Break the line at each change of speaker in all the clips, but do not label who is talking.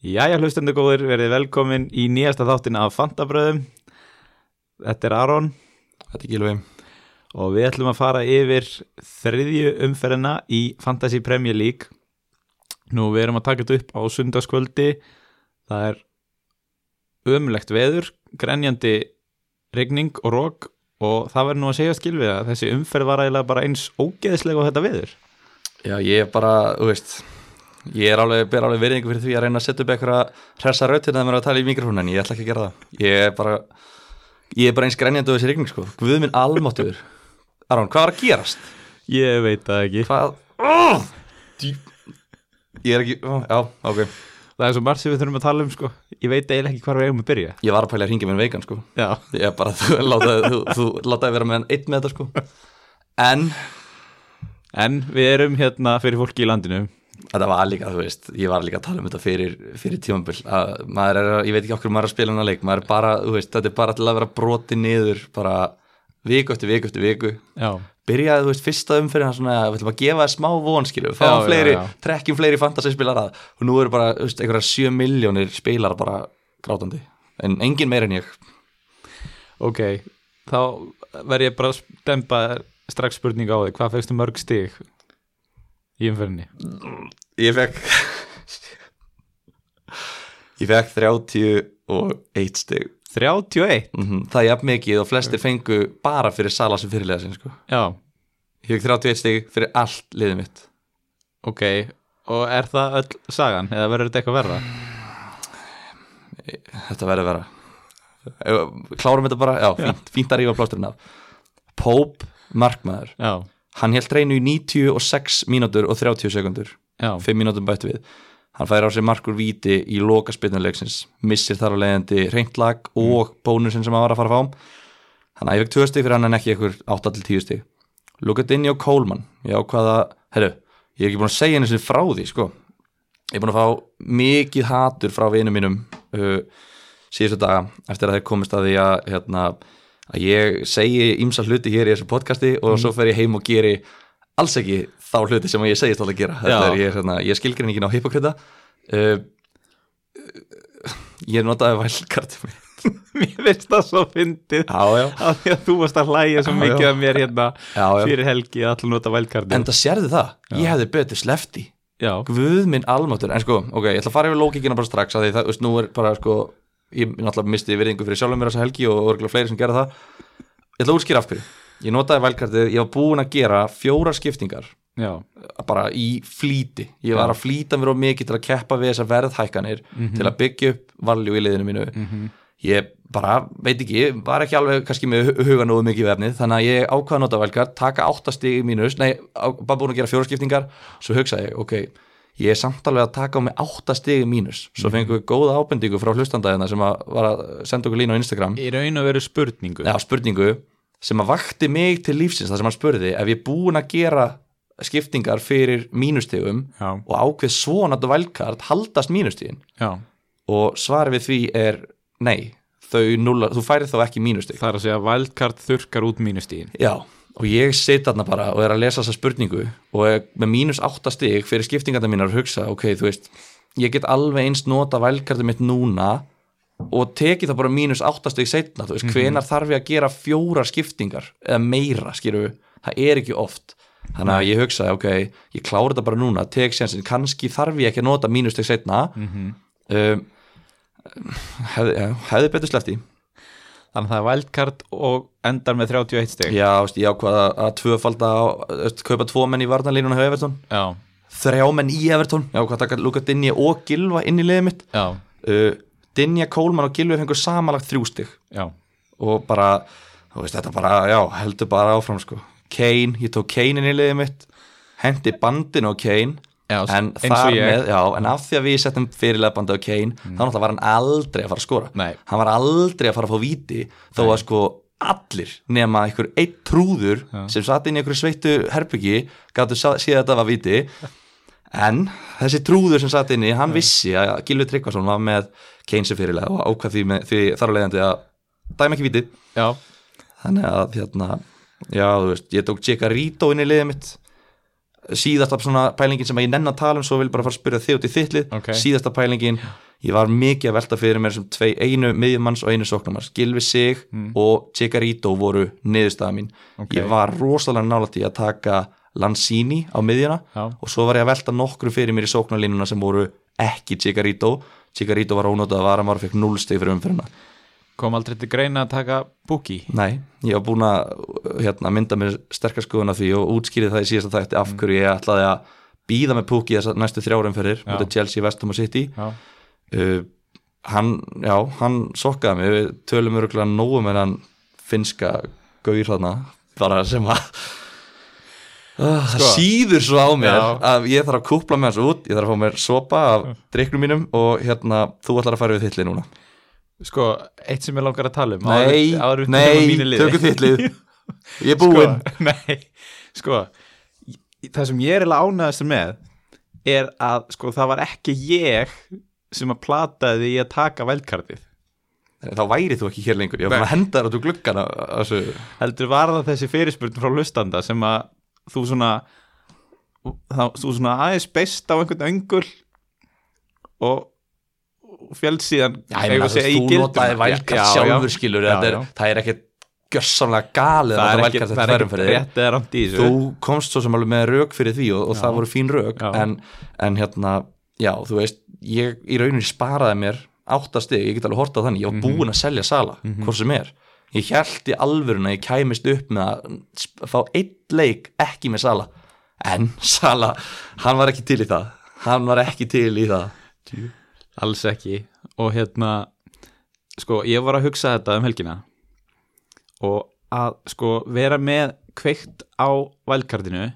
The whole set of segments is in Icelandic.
Jæja hlustendu góður, verið velkomin í nýjasta þáttin af Fantabröðum Þetta er Aron
Þetta er Gilvi
og við ætlum að fara yfir þriðju umferðina í Fantasy Premier League Nú, við erum að taka þetta upp á sundarskvöldi Það er ömulegt veður, grenjandi rigning og rók og það verður nú að segja skilfið að þessi umferð var eiginlega bara eins ógeðslega á þetta veður
Já, ég er bara, þú veist Ég er alveg, ber alveg verðingu fyrir því að reyna að setja upp eitthvað hressa hérna rautin að mér að tala í mikrofónu en ég ætla ekki að gera það Ég er bara, ég er bara eins grenjandi á þessi rigning sko Guð minn almáttuður Aron, hvað var að gerast?
Ég veit það ekki
Hvað? Oh! Ég er ekki, ó, já, ok
Það er svo margt sem við þurfum að tala um sko Ég veit eiginlega ekki hvar við eigum að byrja
Ég var að pæla að ringja minn veikan sko
Já
Ég er bara, þú látaði, þú, þú látaði vera með hann eitt með þetta sko En
En við erum hérna fyrir fólki í landinu
Þetta var líka, þú veist, ég var líka að tala um þetta fyrir, fyrir tímambil að maður er, að- ég veit ekki okkur maður er að spila hennar leik maður er bara, þú veist, þetta er bara til að vera broti niður bara viku eftir viku eftir viku
Já,
byrjaði, þú veist, fyrsta umfyrir svona, við ætlum að gefa það smá vonskilu fá
Já, já,
fleiri,
já.
trekkjum fleiri fantasyspilar að og nú eru bara, þú veist, einhverja 7 miljónir spilar bara grátandi en engin meir en ég
ok Þá verð ég bara að stempa strax spurninga á þig Hvað fegstu mörg stig í umferðinni?
ég fekk ég fekk 31 stig
31
-hmm. Það er jafn mikið og flestir fengu bara fyrir Sala sem fyrirlega sinn sko.
Já,
Ég fekk 31 stig fyrir allt liðið mitt
ok Og er það öll sagan? Eða verður þetta eitthvað verða?
Þetta verður vera Ef- Klárum þetta bara, já, fínt, fínt að rífa plásturinn af Pope, markmaður
Já,
Hann held reynu í 96 mínútur og 30 sekundur
já,
5 mínútum bætt við Hann fær á sig markur víti í loka spilnuleiksins Missir þar á leiðandi reynt lag og bónusinn sem hann var að fara að fá Þannig að ég fekk 2 stig fyrir hann en ekki ykkur 8-10 stig Lukatinho Coleman Ég ákvaða, herru, ég er ekki búin að segja henni sem frá því sko Ég er búin að fá mikið hatur frá vinum mínum uh, síðustu daga eftir að þeir komist að því að, hérna, að ég segi ymsa hluti hér í þessu podcasti og svo fer ég heim og geri alls ekki þá hluti sem ég segist alltaf að gera Þetta
Já.
er, ég, hérna, ég skilgrin ekki ná hippokrita uh, Ég notaði vælkartum
mér finnst það svo fyndið
Já, já,
Af því að þú varst að hlæja svo
Já,
mikið
já.
af mér hérna
já, já.
Fyrir helgi að allir nota vældkardi
En það sérðu það, ég hefði betur slefti
Já,
Guð minn almáttur, en sko, ok, ég ætla að fara yfir lókikina bara strax að því það, þú veist, nú er bara sko ég náttúrulega misti virðingu fyrir sjálfum mér þessa helgi og örgulega fleiri sem gera það Ég ætla að útskýra af hverju, ég notaði velkartið ég var búin að gera fjórar skiptingar
já,
bara í flýti ég var að flýta mér og mikið til að keppa við þessar verðhækkanir til að byggja upp valjú í liðinu mínu
mhm.
ég bara, veit ekki, ég var ekki alveg kannski með hu- hugan og mikið vefnið þannig að ég ákvaða að nota velgar, taka áttastig mínus, nei, á, bara búin að gera fjóraskiptingar svo hugsaði ég, ok ég er samt alveg að taka á mig áttastig mínus svo fengum við góða ábendingu frá hlustandæðina sem að var að senda okkur lína á Instagram
í raun og veru spurningu
Já, spurningu sem að vakti mig til lífsins það sem hann spurði ef ég er búin að gera skiptingar fyrir mínustegum
Já,
og ákveð svona þetta valkart haldast mínustegin
já,
og svari við því er nei, þau nulla, þú færið þá ekki mínusteg
það er að segja vældkard þurkar út mínustíðin
Já, og ég sit þarna bara og er að lesa þessa spurningu og er með mínus átta stig fyrir skiptingarna mínar og hugsa, ok, þú veist ég get alveg eins nota valkartum mitt núna og teki það bara mínus átta stig setna, þú veist, hvenar þarf ég að gera fjóra skiptingar eða meira, skýrðu, það er ekki oft þannig að ég hugsaði, ok, ég klára þetta bara núna, tek sénsinn, kannski þarf ég ekki að nota mínus stig setna um, hefði, já, hefði betur slefti
Þannig að það er vældkart og endar með 31 steg
Já, veist, ég ákvaða að tvöfalda á, veist, kaupa tvo menn í varnarlínuna hjá Evertón
Já,
þrjá menn í Evertón ég ákvaða að taka Luka Dinja og Gilva inn í liðið mitt
já,
uh, Dinja, Kólmann og Gilva fengur samanlagt þrjú stig
já
og bara, þú veist, þetta bara já, heldur bara áfram sko Kane, ég tók Kane inn í liðið mitt hendi bandin á Kane
Já,
en,
eins og
þar
ég.
með, já, en af því að við settum fyrirlega bandi á Kane þá náttúrulega var hann aldrei að fara að skora
Nei.
hann var aldrei að fara að fá víti þó að sko allir nema einhver eitt trúður sem satt inn í einhverju sveittu herbyggi gáttu séð að þetta var víti en þessi trúður sem satt inn í hann vissi að Gilvi Tryggvason var með Kane sem fyrirlega og ákvað því, með, því þar á leiðandi að dæma ekki víti
Já,
þannig að hérna já, þú veist, ég tók Jekka Rito inn í liðið mitt síðasta svona pælingin sem ég nenn að tala um svo vil bara fara að spyrja þið út í þittlið
Ok.
síðasta pælingin, ég var mikið að velta fyrir mér sem tvei, einu miðjumanns og einu sóknumanns Gilvi Sig og Chikarito voru niðurstaða mín
Mm. Ok.
ég var rosalega nálægt í að taka Lanzini á miðjuna
Já.
og svo var ég að velta nokkru fyrir mér í sóknarlínuna sem voru ekki Chikarito Chikarito var ónótað að varamar og fekk 0 stig fyrir umfyrirna
kom aldrei til greina að taka Buki
Nei, ég var búin að hérna, mynda mér sterkar skoðun af því og útskýrið það í síðasta þætti
Mm.
af hverju ég ætlaði að býða með Pukki þess að næstu þrjárum fyrir
Já.
mútið Chelsea, Vestum og City
já,
uh, hann, já, hann sokkaði mig, við tölum örgulega nógu um með hann finska gauðir þarna, bara sem að Uh, það
Sko.
síður svo á mér
Já. Mm.
að ég þarf að kúpla með hans út ég þarf að fá mér sopa af drikknum mínum og hérna, þú ætlar að fara við þittli núna
sko, eitt sem ég langar að tala um
Nei,
áður, áður
nei, tökum þittlið Ég er búinn
sko, nei, sko í- það sem ég er eiginlega ánæðast með er að sko það var ekki ég sem að plataði í að taka veldkartið
Þá væri þú ekki hér lengur, ég var
Nei.
bara að henda þér út úr gluggan að- að þessu
heldur var það þessi fyrirspurn frá hlustanda sem að þú svona þá, þú svona aðeins beist á einhvern öngul og og féllst síðan eigum við að segja, í
Þú
gildruna.
notaði
Já,
vælkart
já,
sjálfur skilur
já,
þetta er-
já.
Það er ekkert gjörsamlega galið
það er ekki,
vælkart
það
þetta
er
færum
ekki
fyrir þig
rétt eða rámt í þessu
Þú komst svo sem alveg með rauk fyrir því og, og það voru fín rauk
Já.
en, en hérna, já, þú veist ég í rauninni sparaði mér áttastig, ég get alveg hortað þannig, ég var búinn að selja sala, hvort sem er ég held í alvörun að ég kæmist upp með að sp- fá einn leik ekki með sala, en sala hann var ekki til í það hann var ekki til í það
alls ekki og hérna sko ég var að hugsa þetta um helgina og að sko vera með kveikt á velkardinu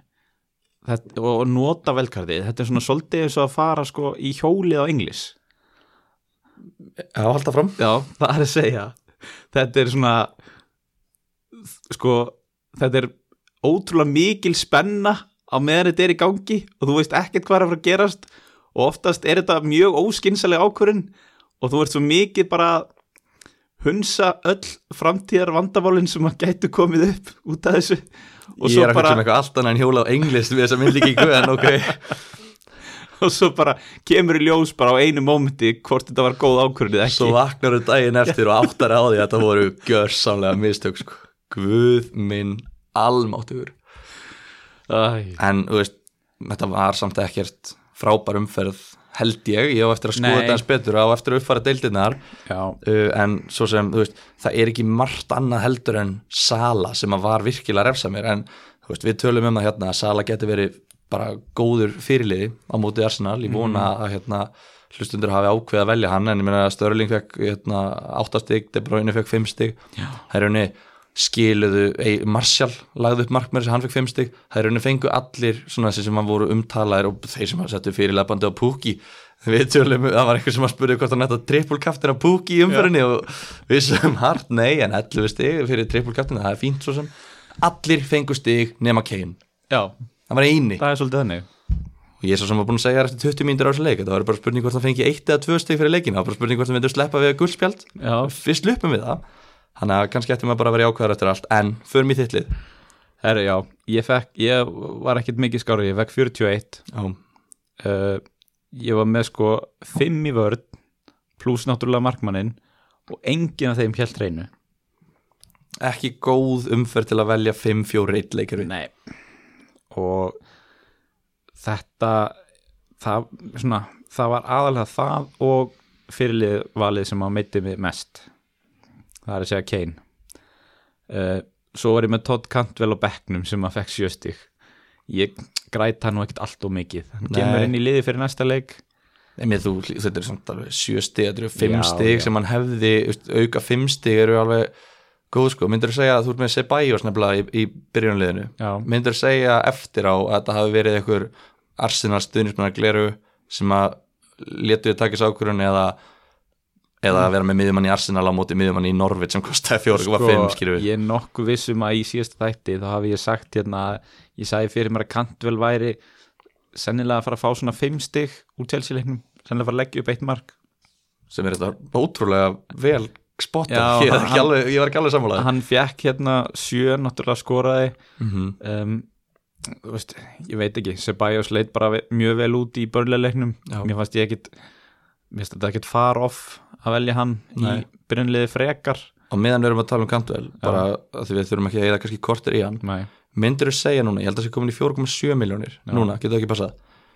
þetta, og og nota velkardið þetta er svona svolítið eins og að fara sko í hjólið á englis
Já, halda fram
já það er að segja þetta er svona sko þetta er ótrúlega mikil spenna á meðan þetta er í gangi og þú veist ekkert hvað er að fara að gerast og oftast er þetta mjög óskinsalega ákvörun og þú ert svo mikið bara að hunsa öll framtíðar vandaválin sem að gætu komið upp út af þessu og
Ég
svo
er að hugsa um
bara,
eitthvað allt annað en hjóla á englist við þess að myndi ekki guðan, ok
og svo bara kemur í ljós bara á einu mómenti hvort þetta var góð ákvörun eða ekki
Svo vaknar þú daginn eftir og áttar á því að þetta voru gjörsamlega mistök sko. Guð minn almáttugur
Æ.
En þú veist, þetta var samt ekkert frábær umferð held ég Ég á eftir að skoða
Nei.
þetta eins betur og á eftir að uppfara deildirnar
Já,
uh, En svo sem, þú veist, það er ekki margt annað heldur en Sala sem að var virkilega að refsa mér En þú veist, við tölum um það hérna að Sala geti verið bara góður fyrirliði á mótið Arsenal Ég vona
Mhm.
að hérna hlustundur hafi ákveð að velja hann en ég meina að Störling fekk hérna, 8 stig, De Bruyne fekk 5 stig það er raunni skiluðu ei, Marshall lagði upp markmæri sem hann fekk 5 stig það er raunni fengu allir svona þessi sem hann voru umtalaðir og þeir sem hann settu fyrirlefandi á Pukki við tölum, það var einhver sem að spurði hvort hann ætta trippulkaftin á Pukki í umfyrinni og við sem hart nei en 11 stig fyrir trippulkaftin, það er fínt svo sem allir fengu stig nema Kane
já,
það var eini
það er svolítið þannig
og ég er svo sem var búin að segja þér eftir 20 mínútur á þessu leik það var bara spurning hvort hann fengi eitt eða tvö stig fyrir leikin það var bara spurning hvort hann myndur sleppa við guldspjald
Já,
við sluppum við það þannig að kannski ættum við bara að vera jákvæðar eftir allt en förum í þittlið
Herru, já, ég, fekk, ég var ekkert mikið skárið, ég fekk 41
já,
uh, ég var með sko 5 í vörð pluss náttúrulega markmanninn og enginn af þeim hjælt reynu
ekki góð umferð til að velja 5-4-1 leikir við
Nei og þetta það, svona, það var aðalega það og fyrirlið valið sem að meiti mig mest það er að segja Kane uh, svo var ég með Todd Cantwell á bekknum sem að fekk sjöstig ég græta nú ekkert allt og mikið hann
Nei.
kemur inn í liði fyrir næsta leik
Nei, þú, þetta er samt alveg 7 stig, þetta eru 5
Já,
stig
já.
sem hann hefði veist, auka 5 stig eru alveg góð sko, myndur þú segja að þú ert með Sebajos nefnilega í, í byrjunliðinu
Já.
myndur þú segja eftir á að þetta hafi verið einhver Arsenal stuðnismennar gleru sem að letu þið takis ákvörun eða eða
Mm.
að vera með miðjumann í Arsenal á móti miðjumann í Norvit sem kostaði 4,5 skilur við
Sko, ég er nokkuð vissum að í síðasta þætti þá hafi ég sagt hérna að ég sagði fyrir mér að Cantwell væri sennilega að fara að fá svona 5 stig úr telsileiknum, sennilega að fara að leggja upp eitt mark
sem er þetta ótrúlega vel spotta,
Já,
ég, er ekki
hann-
alveg, ég var ekki alveg sammálaði
hann fekk hérna 7 náttúrulega skoraði
mm -hmm.
um, þú veist, ég veit ekki Sebajos leit bara ve- mjög vel út í börnuleiknum
Já.
mér fannst ég ekkit mér finnst þetta ekkert far off að velja hann
Nei.
í byrjunliði frekar
og meðan við erum að tala um Cantwell bara að því við þurfum ekki að eða kannski kortir í hann
Nei.
myndir þú segja núna, ég held að það sé komin í 4,7 miljónir
Já.
núna, getur það ekki passað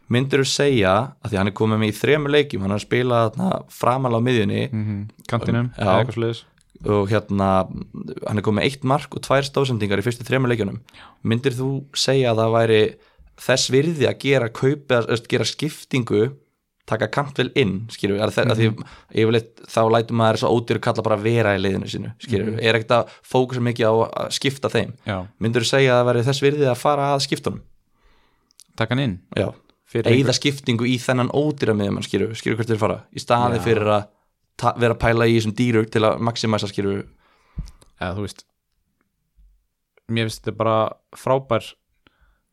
myndir þú segja, að því hann er komin með í þremur leikjum, hann er að spila þarna, framalega á miðjunni
Mm kantinum,
Já.
eða eitthvað sliðis
og hérna hann er komin með eitt mark og tvær stóðsendingar í fyrstu þremur leikjunum, myndir þú segja að það væri þess virði að gera kaup eða eða gera skiptingu taka kantvel inn, skýrðu að, mm -hmm. að því yfirleitt þá lætur maður þess að ódýru kalla bara vera í liðinu sínu, skýrðu er ekkert að fókusa mikið á að skipta þeim
Já,
myndur þú segja að það væri þess virði að fara að skiptunum
taka hann inn
já,
fyrir
eigða skiptingu í þennan ódýra miðjumann skýru, skýru hvert þeir fara í staði
Já.
fyrir að ta- vera að pæla í þessum dýru til að maximæsa skýru
eða þú veist mér finnst þetta bara frábær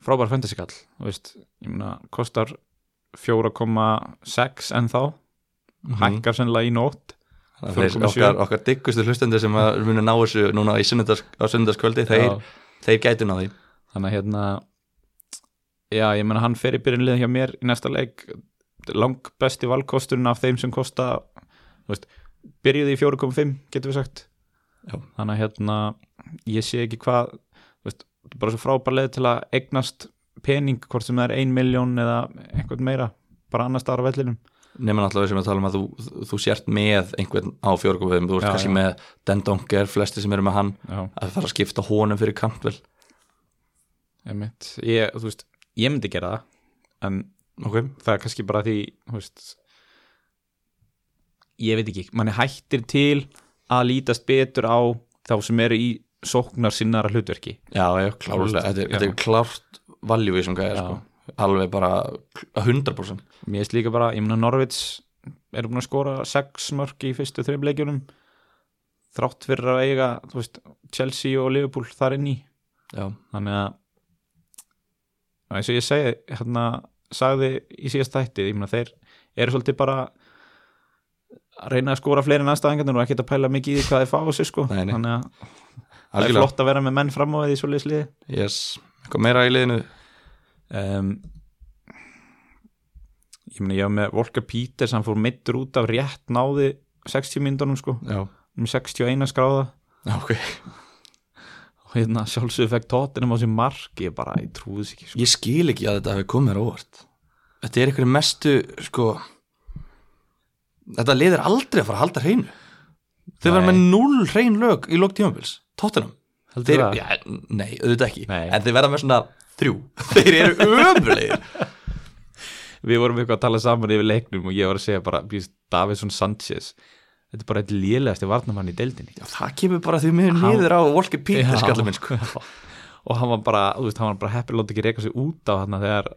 frábær fantasy kall þú veist, ég meina, kostar 4,6 en þá hækkar sennilega í nótt
þeir,
4,7.
okkar, okkar diggustu hlustendur sem að munu ná þessu núna í sunnudas, á sunnudaskvöldi þeir,
Já.
þeir gætu ná því
þannig að hérna já, ég meina, hann fer í byrjunlið hjá mér í næsta leik lang besti valkosturinn af þeim sem kosta þú veist, byrjuði í 4,5 getum við sagt
Já.
þannig að hérna, ég sé ekki hvað þú veist, þetta er bara svo frábær leið til að eignast pening, hvort sem það er 1 miljón eða einhvern meira, bara annars staðar á vellinum
nema náttúrulega við sem að tala um að þú, þú, þú sért með einhvern á fjórgófiðum þú ert
Já,
kannski
já.
með Den Donker, flesti sem eru með hann
já,
að fara að skipta honum fyrir Campbell
einmitt ég, þú veist, ég myndi gera það en
okay.
það er kannski bara því þú veist, ég veit ekki, mann er hættir til að lítast betur á þá sem eru í sóknar sinnara hlutverki
Já, já, klárlega, þetta er,
Já.
þetta er klárt valjú í þessum gæði, sko alveg bara 100%
mér finnst líka bara, ég meina Norvits er búin að skora sex mörk í fyrstu þreim leikjunum þrátt fyrir að eiga þú veist, Chelsea og Liverpool þar inn í
Já,
þannig að að eins og ég segi hérna, sagði í síðast þætti ég meina þeir eru svolítið bara að reyna að skora fleiri en anstæðingarnir og ekkert að pæla mikið í því hvað þeir fá á sig sko
Nei, nei.
þannig að það er
algjörlega
flott að vera með menn fram á því svo liðsliði
yes. Eitthvað meira í liðinu
um, ég meina ég var með Volker Peters hann fór meittur út af rétt náði 60 myndunum sko
Já,
um 61 skráða
ok
og hérna sjálfsögur fekk tóttinum á sér marki ég bara, ég trúði þess ekki sko.
Ég skil ekki að þetta hefur komið mér á óvart Þetta er einhverju mestu, sko Þetta liðir aldrei að fara að halda hreinu Þau verður
Nei.
með null hrein lög í lók tímabils Tóttunum
Heldur
Þeir,
það?
já, nei, auðvitað ekki
Nei.
En þeir verða með svona þrjú Þeir eru ömulegir
við vorum eitthvað að tala saman yfir leiknum og ég var að segja bara, býst, Davidson Sanchez þetta er bara eitt lélegasti varnamann í deildinni
Já, það kemur bara því miður niður á Volker Peter skallum minn, sko
og hann var bara, þú veist, hann var bara heppið látt ekki reyka sig út á hann þegar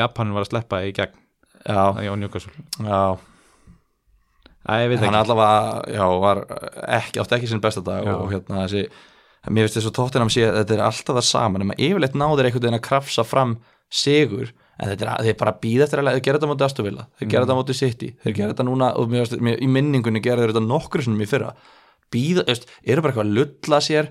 Japanin var að sleppa í gegn
Já,
þannig á Newcastle
já
Æ, ég veit
hann
ekki,
allavega, já, var ekki, átti ekki sinn besta dag
Já.
og hérna þessi mér finnst þess að tóttinam sé að þetta er alltaf það saman en maður yfirleitt náður einhvern veginn að krafsa fram sigur, en þetta er, þeir bara býða eftir að þeir gera þetta á móti Astovilla, þeir gera þetta á móti City, þeir gera þetta núna og mér, fannst- mér, í minningunni gera þeir þetta nokkru sinnum í fyrra býða, veist, eru bara eitthvað að lulla sér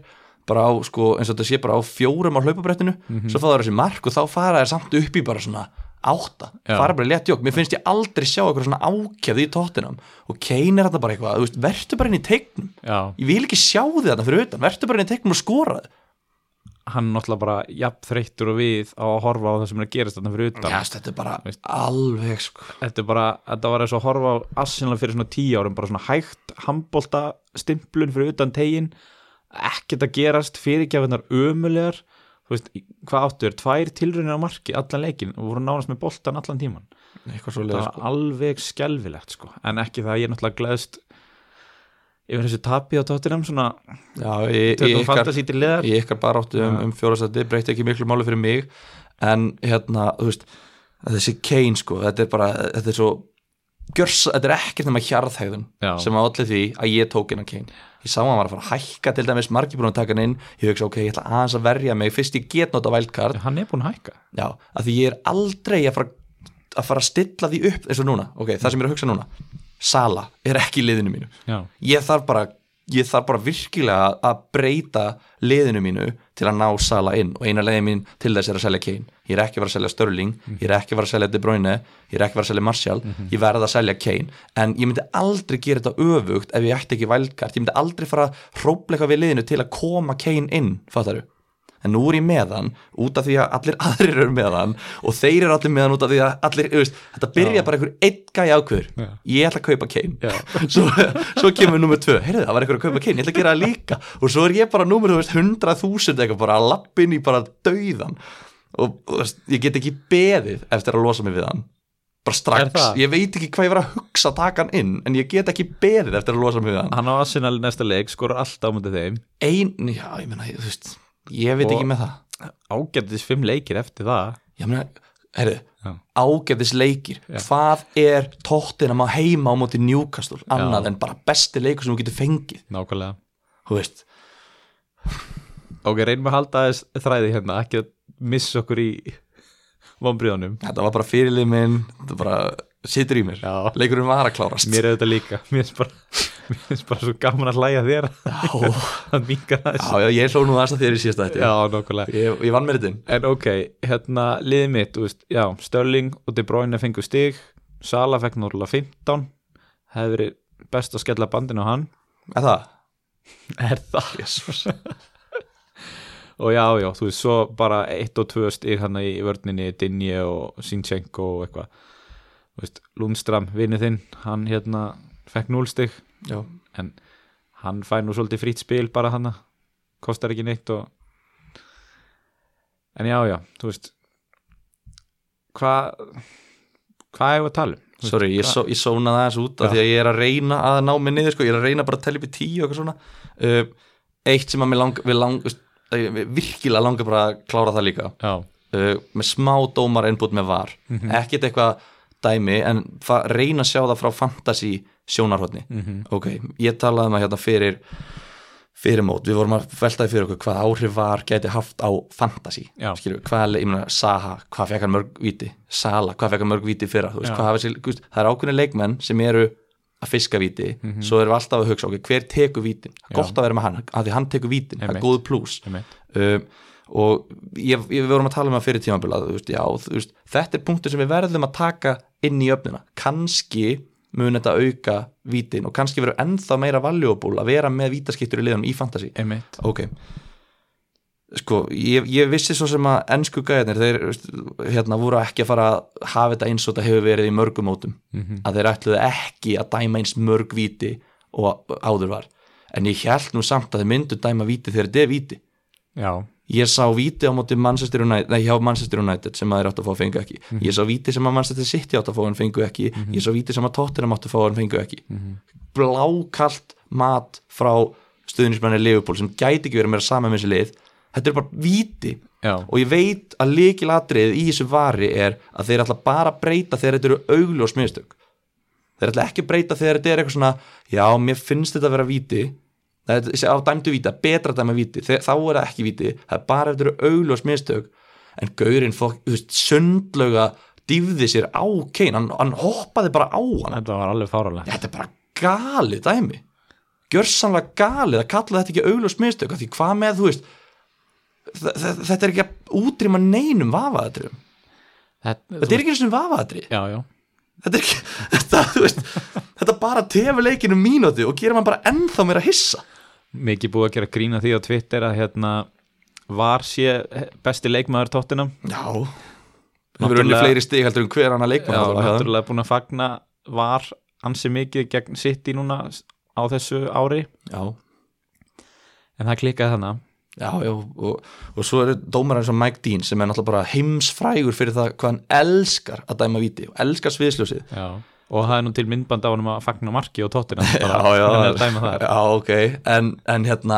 bara á, sko, eins og þetta sé bara á fjórum á hlaupabrettinu, svo fá það þessi mark og þá fara þeir samt upp í bara svona átta,
Já.
fara bara létt jók, mér finnst ég aldrei sjá eitthvað svona ákjafði í tóttinam og Kane er þetta bara eitthvað, þú veist, vertu bara inn í teignum
já,
ég vil ekki sjá þið þarna fyrir utan, vertu bara inn í teignum og skora
hann náttúrulega bara jafn þreyttur og við á að horfa á það sem er að gerast þarna fyrir utan
Kast, þetta er bara alveg sko.
þetta er bara, þetta var eins og að horfa á Arsenal fyrir svona tíu árum, bara svona hægt handbólta stimplun fyrir utan tegin ekkert að gerast fyrirgjafinnar ömulegar þú veist, í- hvað áttu er, tvær tilraunir á marki allan leikin og voru nánast með boltan allan tíman
eitthvað sko. svo
það var alveg sko. skelfilegt sko, en ekki það að ég náttúrulega gleðst yfir þessu tapi á tóttinum svona,
Já, ég, ég,
tökum
ykkar,
fantasy til leðar
í ykkar baráttu um, um fjórastætti breytti ekki miklu máli fyrir mig en hérna, þú veist þessi Kane sko, þetta er bara þetta er svo, gjörs, þetta er ekkert nema hjarðhægðun
Já.
sem að allir því að ég tók hennan Kane ég sá að hann var að fara að hækka til dæmis margir búin að taka hann inn, ég hugsa ok, ég ætla aðeins að verja mig fyrst ég get nota vældkart
hann er búin að hækka
Já, af því ég er aldrei að fara að fara að stilla því upp eins og núna, ok, það sem ég er að hugsa núna Sala er ekki í liðinu mínu
Já.
ég þarf bara ég þarf bara virkilega að breyta liðinu mínu til að ná Sala inn og eina leiði mín til þess er að selja Kane ég er ekki að fara að selja Störling, ég er ekki að fara að selja De Bruyne, ég er ekki að fara að selja Martial ég verð að selja Kane, en ég myndi aldrei gera þetta öfugt ef ég ætti ekki vælkart, ég myndi aldrei fara að hrópleika við liðinu til að koma Kane inn, fattar en nú er ég með hann út af því að allir aðrir eru með hann og þeir eru allir með hann út af því að allir, þú veist, þetta byrja bara einhver einn gæja ákveður,
Já.
ég ætla að kaupa Kane
Já.
svo, svo kemur nummer tvö, heyrðu það var einhver að kaupa Kane, ég ætla að gera það líka og svo er ég bara nummer, þú veist, 100.000 eitthvað bara að lappa inn í bara dauðan og þú veist, ég get ekki beðið eftir að losa mig við hann bara
Er
strax,
það?
ég veit ekki hvað ég var að hugsa að taka hann inn, en ég get ekki beðið eftir að losa mig við hann,
Hann á Arsenal næsta leik, skorur alltaf á mútið þeim
ein, já, ég meina, þú veist ég veit
Og-
ekki með það
Ágættis fimm leikir eftir það
ég meina, heyrðu
Já.
ágæðis leikir, hvað er tóttinam á heima á móti njúkastur annað
Já.
en bara besti leikur sem þú getur fengið
Nákvæmlega
þú veist,
Ok, reynum að halda aðeins þræði hérna ekki að missa okkur í vonbríðanum
þetta var bara fyrirlið minn þetta bara situr í mér
Já.
leikurinn var að klárast
Mér er þetta líka, mér finnst bara, mér finnst bara svo gaman að hlæja að þér
já,
að minga
já,
þess
já, ég hló nú aðeins að þér í síðasta þetta
Já, nákvæmlega
ég, ég vann mér þetta
En ok, hérna liðið mitt, þú veist, já, Störling og De Bruyne fengu stig, Sala fekk náttúrulega 15, hefði verið best að skella bandinu á hann.
er það?
Er það?
Jesus.
Og já, já, þú veist, svo bara eitt og tvö stig hann í vörninni, Dinje og Sinchenko og eitthvað. Þú veist, Lundstram, vinnu þinn, hann hérna fekk 0 stig,
já,
en hann fær nú svolítið frýtt spil bara hann, kostar ekki neitt og... En já, já, þú veist, hvað hva hefur að tala um?
sorry, ég, so, ég sónaði aðeins út af
Já.
því að ég er að reyna að ná mig niður sko, ég er að reyna bara að telja upp í tíu og eitthvað svona uh, eitt sem að mér lang, við lang, eh, virkilega langar bara að klára það líka
Já,
uh, með smá dómar innbútt með var
Mhm.
ekkert eitthvað dæmi en fa- reyna að sjá það frá fantasy sjónarhóttni
Mhm.
ok, ég talaði maður hérna fyrir fyrir mót, við vorum að veltaði fyrir okkur hvað áhrif var gæti haft á fantasy
Já.
skilur, hvað, le- ég meina, Saha hvað fekk hann mörg víti, Sala, hvað fekk hann mörg víti í fyrra, þú veist,
Já.
hvað hafa sér, veist, það er ákveðni leikmenn sem eru að fiska víti,
Mhm.
svo erum við alltaf að hugsa, ok, hver tekur vítin, gott að vera með hann af því hann tekur vítin, það er
Einmitt.
góð pluss
einmitt.
um, og ég, ég, við vorum að tala um það fyrir tímabila þú veist, já, þú veist, þetta er punktur sem við verðum að taka inn í öfnina kannski mun þetta auka vítin og kannski verður ennþá meira valuable að vera með vítaskiptur í liðunum í fantasy
Einmitt.
ok sko, ég, ég vissi svo sem að ennsku gæðinir, þeir þú veist, hérna voru ekki að fara að hafa þetta eins og þetta hefur verið í mörgum mótum,
Mhm.
að þeir ætluðu ekki að dæma eins mörg víti og áður var, en ég held nú samt að þeir myndu dæma víti þegar þetta er víti
Já,
ég sá víti á móti Manchester United nei, hjá Manchester United sem maður átt að fá að fengu ekki ég sá víti sem að Manchester City átt að fá en fengu ekki ég sá víti sem að Tottenham átt að fá en fengu ekki blákalt mat frá stuðnismenni Liverpool sem gæti ekki verið meira saman með þessi lið þetta er bara víti
já,
og ég veit að líkilatriðið í þessu vari er að þeir ætla bara að breyta þegar þetta eru augljós mistök þeir ætla ekki að breyta þegar þetta er eitthvað svona já, mér finnst þetta að vera víti það er á dæmdu víta, betra að dæma víti þegar, þá er það ekki víti, það er bara ef þetta eru augljós mistök en gaurinn fokk, þú veist, sundlauga dýfði sér á Kane, hann, hann hoppaði bara á hann
þetta var alveg fáralega.
þetta er bara galið dæmi gjörsamlega galið að kalla þetta ekki auglust mistök af því hvað með þú veist þ- þ- þetta er ekki að útrýma neinum vafaðatrum,
Þetta,
þetta er ekki eins og vafaðatri
Já, já,
þetta er ekki, þetta, þú veist þetta bara tefur leikinu mínútu og gerir mann bara ennþá meira hissa
mikið búið að gera grína því á Twitter að hérna var sé besti leikmaður tóttinam.
já við erum unni
Náttúrulega-
fleiri stig heldur um hver annar
Já,
leikmann allavega.
náttúrulega búin að fagna var ansi mikið gegn sitt í núna á þessu ári,
já,
en það klikkaði þannig.
já, já og, og svo eru dómarar eins og Mike Dean sem er náttúrulega bara heimsfrægur fyrir það hvað hann elskar að dæma víti og elskar sviðsljósið
Já. Og það er nú til myndband á honum að fagna marki og tóttinam.
já, já,
Þannig að dæma það.
já, ok en, en hérna,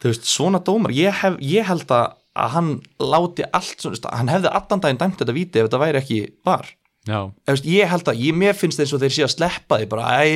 þú veist, svona dómar ég, hef, ég held að, að hann láti allt, svona, þú veist, hann hefði allan daginn dæmt þetta víti ef þetta væri ekki var
Já,
Þú veist, ég held að, ég, mér finnst eins og þeir sé að sleppa því bara, æ,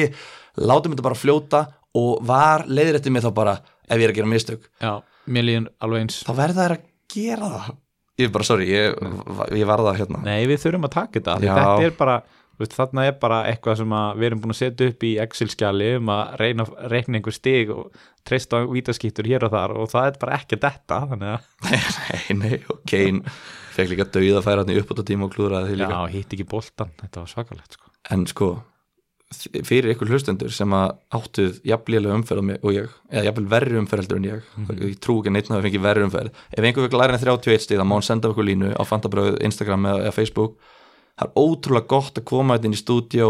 látum þetta bara fljóta og var leiðir eftir mig þá bara ef ég er að gera mistök,
já, mér líður alveg eins.
þá verða þær að gera það ég er bara, sorry, ég, ég var það hérna
Nei, við þurfum að taka þetta. af því
Já.
Þetta er bara, Þú veist, þarna er bara eitthvað sem að við erum búin að setja upp í Excel-skjali um að reyna að reikna einhver stig og treysta á vítaskýttur hér og þar og það er bara ekki þetta þannig að
nei, nei, og Kane fekk líka dauða að færa hann í uppbúta tíma og klúðraði því líka
já, hitt ekki boltan, þetta var svakalegt sko.
en sko þ- fyrir ykkur hlustendur sem að áttuð jafnlega umferð og mig- og ég, eða jafnvel verri umferð heldur en ég, ég trú ekki að neitt að það fengi verri umferð, ef einhver fekk lærin 31 stig þá má hann senda okkur línu á Fantabröð Instagram eða, eða Facebook, það er ótrúlega gott að koma þetta inn í stúdíó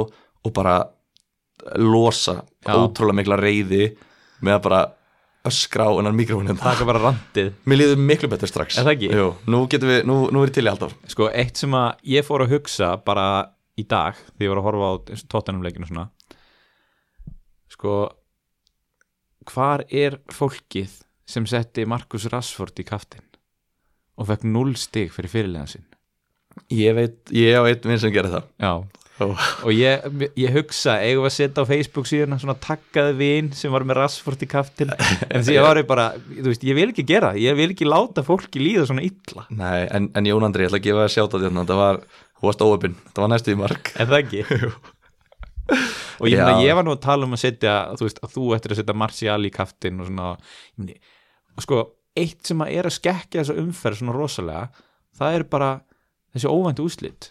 og bara losa
Já.
ótrúlega mikla reyði með að bara öskra á hennar mikrofónin
taka bara randið
mér líður miklu betur strax
Er það ekki?
Jú, nú, getum við, nú, nú er ég til í alltaf
Sko, eitt sem að ég fór að hugsa bara í dag, því ég var að horfa á tóttanumleikinu svona Sko, hvar er fólkið sem setti Markus Rassford í kaftin og fekk null stig fyrir fyrirlega sinn
ég veit, ég á einn vinn sem gerir það
Já,
Ó.
og ég, ég hugsa eigum við að setja á Facebook síðan svona takkaði vin sem var með Rassford í kaftin en því ég var ég bara, þú veist, ég vil ekki gera það, ég vil ekki láta fólki líða svona illa
Nei, en, en Jón Andri, ég ætla að gefa það sjátt að þetta var, þú varst óöpinn, þetta var næstu í mark
Er það ekki? og ég, meina,
Já.
ég var nú að tala um að setja þú veist, að þú ættir að setja Martial í kaftin og svona ég meina, og sko, eitt sem að er að skekkja þessa umferð svona rosalega, það er bara þessi óvæntu úslit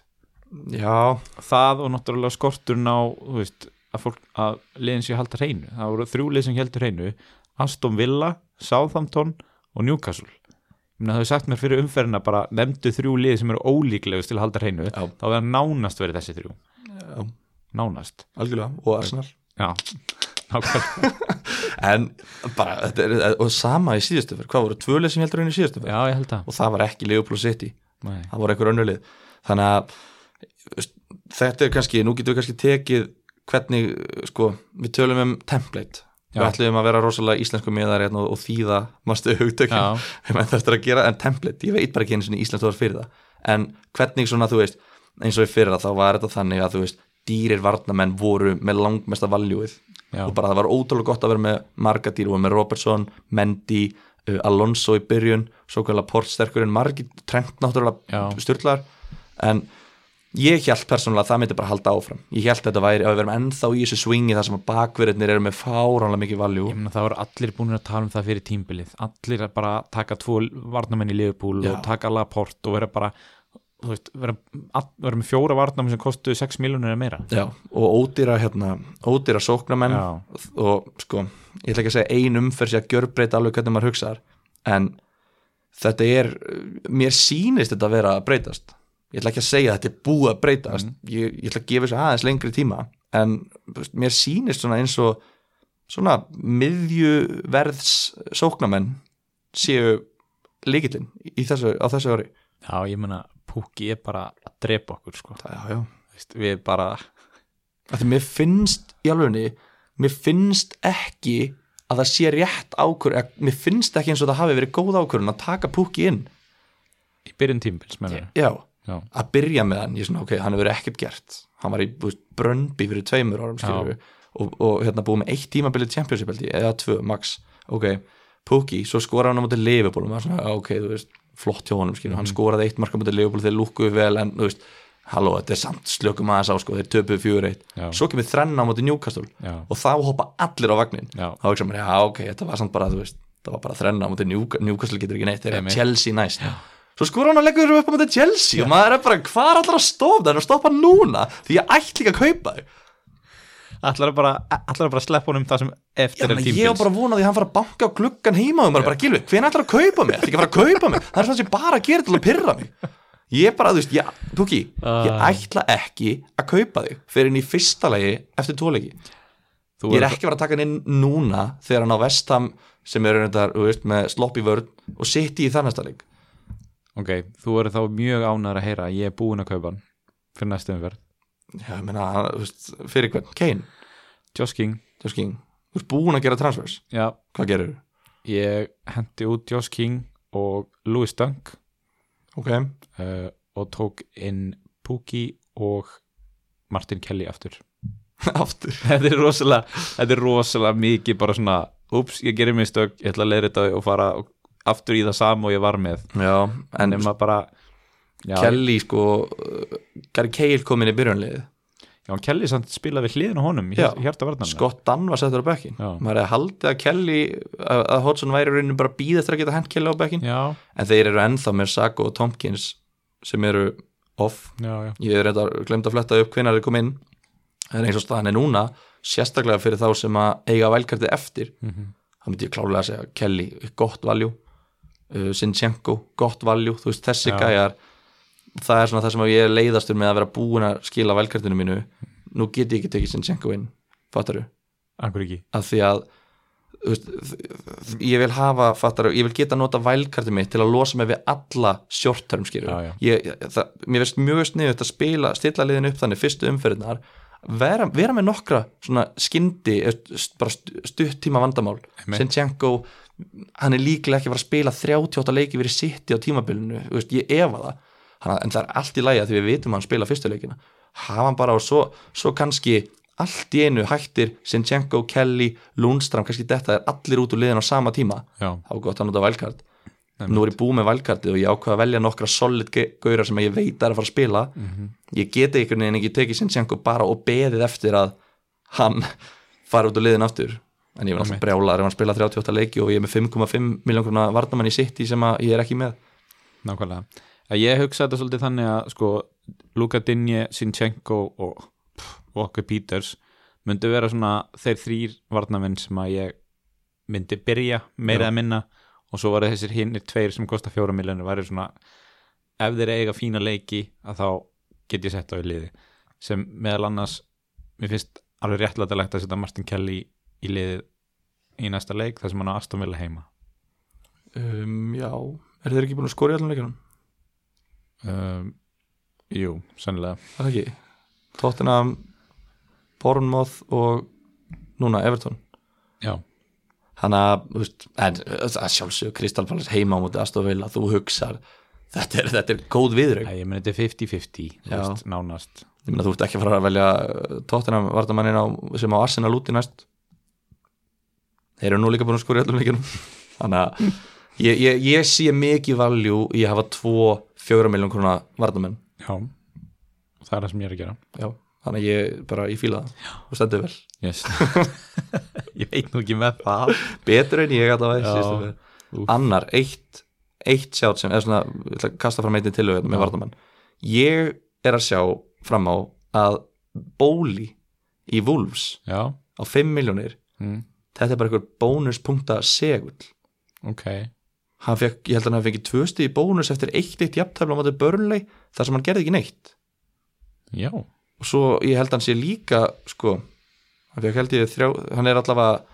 Já,
það og náttúrulega skorturinn á þú veist, að, fólk, að liðin sé að halda hreinu það voru þrjú lið sem heldur hreinu Aston Villa, Southampton og Newcastle Ég meina, það hefur sagt mér fyrir umferðina bara nefndu þrjú lið sem eru ólíklegust til að halda hreinu
Já.
þá verður nánast verið þessi þrjú
já
nánast
algjörlega, og Arsenal
Já, nákvæmlega
En bara, þetta er, og sama í síðustu fyrr, hvað voru tvölið sem heldur einu í síðustu fyrr?
Já, ég held að
Og það var ekki Leopold City,
Nei.
það voru einhver önnulið Þannig að veist, þetta er kannski, nú getum við kannski tekið hvernig, sko, við tölum um template
Já.
Við ætlum að vera rosalega íslensku miðar hérna og, og þýða mástu hugtökin
Já,
ef maður þarfst að gera, en template, ég veit bara ekki einu sinni íslenskt orð fyrir það en hvernig svona, þú veist, eins og í fyrra þá var þetta þannig að, þú veist, dýrir varnamenn voru með langmesta valjúið
já,
og bara það var ótrúlega gott að vera með marga dýr og með Robertson, Mendy uh, Alonso í byrjun, svo kvæðlega portsterkurinn, margi trend náttúrulega
Já.
styrlar, en ég held persónulega að það myndi bara halda áfram ég held þetta væri, ef við verum ennþá í þessu svingi þar sem að bakverðinir eru með fáránlega mikið valjú
ég meina það voru allir búin að tala um það fyrir tímbilið Allir að bara taka tvo varnamenn í liðbúl
Já.
og taka alla port og vera bara þú veist, vera, all, vera með fjóra varnamenn sem kostuðu 6 miljonir eða meira
Já, og ódýra hérna, ódýra sóknamenn
Já.
og sko, ég ætla ekki að segja ein umferð sér að gjörbreyta alveg hvernig maður hugsaðar en þetta er mér sýnist þetta að vera að breytast ég ætla ekki að segja að þetta er búið að breytast ég, ég ætla að gefa þessu aðeins lengri tíma en þú veist, mér sýnist svona eins og svona miðjuverðs sóknamenn séu líkillinn í þessu, á þessu ári
Já, ég meina Pukki er bara að drepa okkur sko.
Já, já
Veist, Við bara,
að því mér finnst í alvegni, mér finnst ekki að það sé rétt ákvörð eða mér finnst ekki eins og það hafi verið góð ákvörðun að taka púki inn
í byrjun tímbils með mér
já,
Já,
að byrja með hann, ég svona ok, hann hefur ekkert gert hann var í þú veist, brönnbi fyrir tveimur árum skilur við, og, og hérna búið með eitt tímabilið championship held ég, eða tvö, max ok, púki, svo skoraði hann á móti Liverpool og maður svona, "Já, ok, þú veist, flott hjá honum skilur,
Mhm.
hann skoraði eitt marka móti Liverpool þeir lúkkuðu vel en, þú veist, halló, þetta er samt slökum aðeins á, sko, þeir töpuðu fjögur eitt
Já.
svo kemur þrenna á móti Newcastle
já,
og þá hoppa allir á vagnin
já
þá ekki sem mér, já ok, þetta var samt bara þú veist, það var bara þrenna á móti Newca- Newcastle getur ekki neitt, þeir eru
Einmitt.
Chelsea næst svo skora hann að leggja upp á móti Chelsea og maður er bara, hvað er allar að stoppa það er að stoppa núna, því ég ætti ekki að kaupa þau
Allar að bara, allar að bara sleppa honum það sem
Já,
eftir er
menn,
tímbils
ég var bara vonað því að hann fara að banka á gluggan heima og maður bara, gilvi, hvernig ætlar að kaupa mig? Það ekki að fara að kaupa mig, það er svona sem bara að gera til að pyrra mig Ég bara, þú veist, já, Tuki, ég
Ah.
ætla ekki að kaupa þig fyrir inn í fyrsta lagi eftir tvoleiki
Þú
Ég er
verður-
ekki að fara að taka hann inn núna þegar hann á Vestham sem eru reyndar, þú veist, með slopp í vörð og sitt í þannasta leik
Ok, þú verður þá mjög ánæður að heyra að ég er búin að kaupa hann fyrir næstu umferð
Já, ég meina, hann, þú veist, fyrir hvern, Kane,
Josh King,
þú veist, King, þú veist, búin að gera transfers,
já,
hvað gerir þú?
ég hendi út Josh King og Louis Dunk
Ok,
uh, og tók inn Pukki og Martin Kelly aftur
aftur
þetta er rosalega, þetta er rosalega mikið bara svona, ups, ég gerir mig stökk ég ætla að leira þetta og fara aftur í það sama og ég var með,
Já, en
nema bara já,
Kelly sko uh, Gary Cale kom inn í byrjunliðið
Já, Kelly samt spilaði við hliðin á honum í
Já.
hjarta varnarna
Scott Dunn var settur á bekkin
Já.
maður hefði haldið að Kelly að að Hodgson væri rauninu bara býð eftir að geta hent Kelly á bekkin
Já,
en þeir eru ennþá með Sago og Tompkins sem eru off
já, já
ég er reynda glemt að fletta upp hvenær þeir kom inn en eins og staðan er núna sérstaklega fyrir þá sem að eiga vælkartið eftir
mm
þá myndi ég klálega að segja Kelly, gott valjú uh, Sinchenko, gott valjú þú veist þessi
Já.
gæjar það er svona það sem ég er leiðastur með að vera búin að skila velkartinu mínu nú get ég ekki tekið Sinchenko inn, fattaru
Akkur ekki
að því að þú veist, þ- ég vil hafa fattaru, ég vil geta nota vælkartið mitt til að losa mig við alla short term skilur
Já, já.
Ég, það, mér veist mjög sniðut að spila, stilla liðin upp þannig fyrstu umferðinar vera, vera með nokkra svona skyndi bara stu- stutt tíma vandamál
Einmitt.
Sinchenko hann er líklega ekki að fara að spila 38 leiki verið sitti á tímabilinu, þú veist, ég efa það hann, en það er allt í lagi að því við vitum að hann spila fyrstu leikina, hafa hann bara og svo, svo kannski allt í einu hættir Sinchenko, Kelly, Lundström kannski þetta er allir út úr liðin á sama tíma
Já,
þá er gott að nota valkart
Einmitt.
nú er ég búið með valkartið og ég ákvað að velja nokkra solid ge- gaurar sem ég veit að er að fara að spila ég geti einhvern veginn ekki tekið Sinchenko bara og beðið eftir að hann fara út úr liðin aftur en ég var alltaf
Einmitt.
brjálar ef hann spila 38 leiki og ég er með 5,5 miljónkrona varnamann í sitt í sem að ég er ekki með
nákvæmlega að Ég hugsa þetta svolítið þannig að sko, Luka Dinje, Sinchenko og pff, Walker Peters myndu vera svona þeir þrýr varnamenn sem að ég myndi byrja meira
Já.
að minna og svo varu þessir hinnir tveir sem kosta fjóra miljonir væri svona ef þeir eiga fína leiki að þá get ég sett á í liði sem meðal annars mér finnst alveg réttlætilegt að setja Martin Kelly í liðið í næsta leik þar sem hann á Aston Villa heima
um, Já, er þeir ekki búin að skora í allan leikunum?
um, Jú, sannlega
Er það ekki? Tottenham, Bournemouth og núna Everton
Já,
Þannig að, þú veist, en að sjálfsög Kristalpalas heima á móti aðstofil að þú hugsar þetta er, þetta er góð viðrögg.
Æ, ég meni þetta er 50-50 þú
Já.
veist, nánast
Ég meina þú ert ekki að fara að velja uh, Tottenham vartamannina sem á Arsenal úti næst. Þeir eru nú líka búin að skora í öllum leikunum. Þannig að ég, ég, ég sé mikið valjú í að hafa tvo fjögra miljón krona vartamenn.
Já, það er það sem ég er að gera
Já, þannig að ég bara, ég fíla það. Þú stendur vel.
yes. Ég veit nú ekki með það
Betur en ég að það
Já.
væri.
Úff.
annar, eitt eitt sjátt sem, eða svona ég ætla að kasta fram einnig til auðvitað með vardamann ég er að sjá fram á að bóli í Wolves
Já,
á 5 miljónir
mm,
þetta er bara einhver bónuspunkta segull
ok
hann fekk, ég held að hann fengi tvösti í bónus eftir eitt eitt jafntæfla á móti börnleg þar sem hann gerði ekki neitt
Já,
og svo ég held að hann sé líka sko, hann fekk held ég þrjá hann er allavega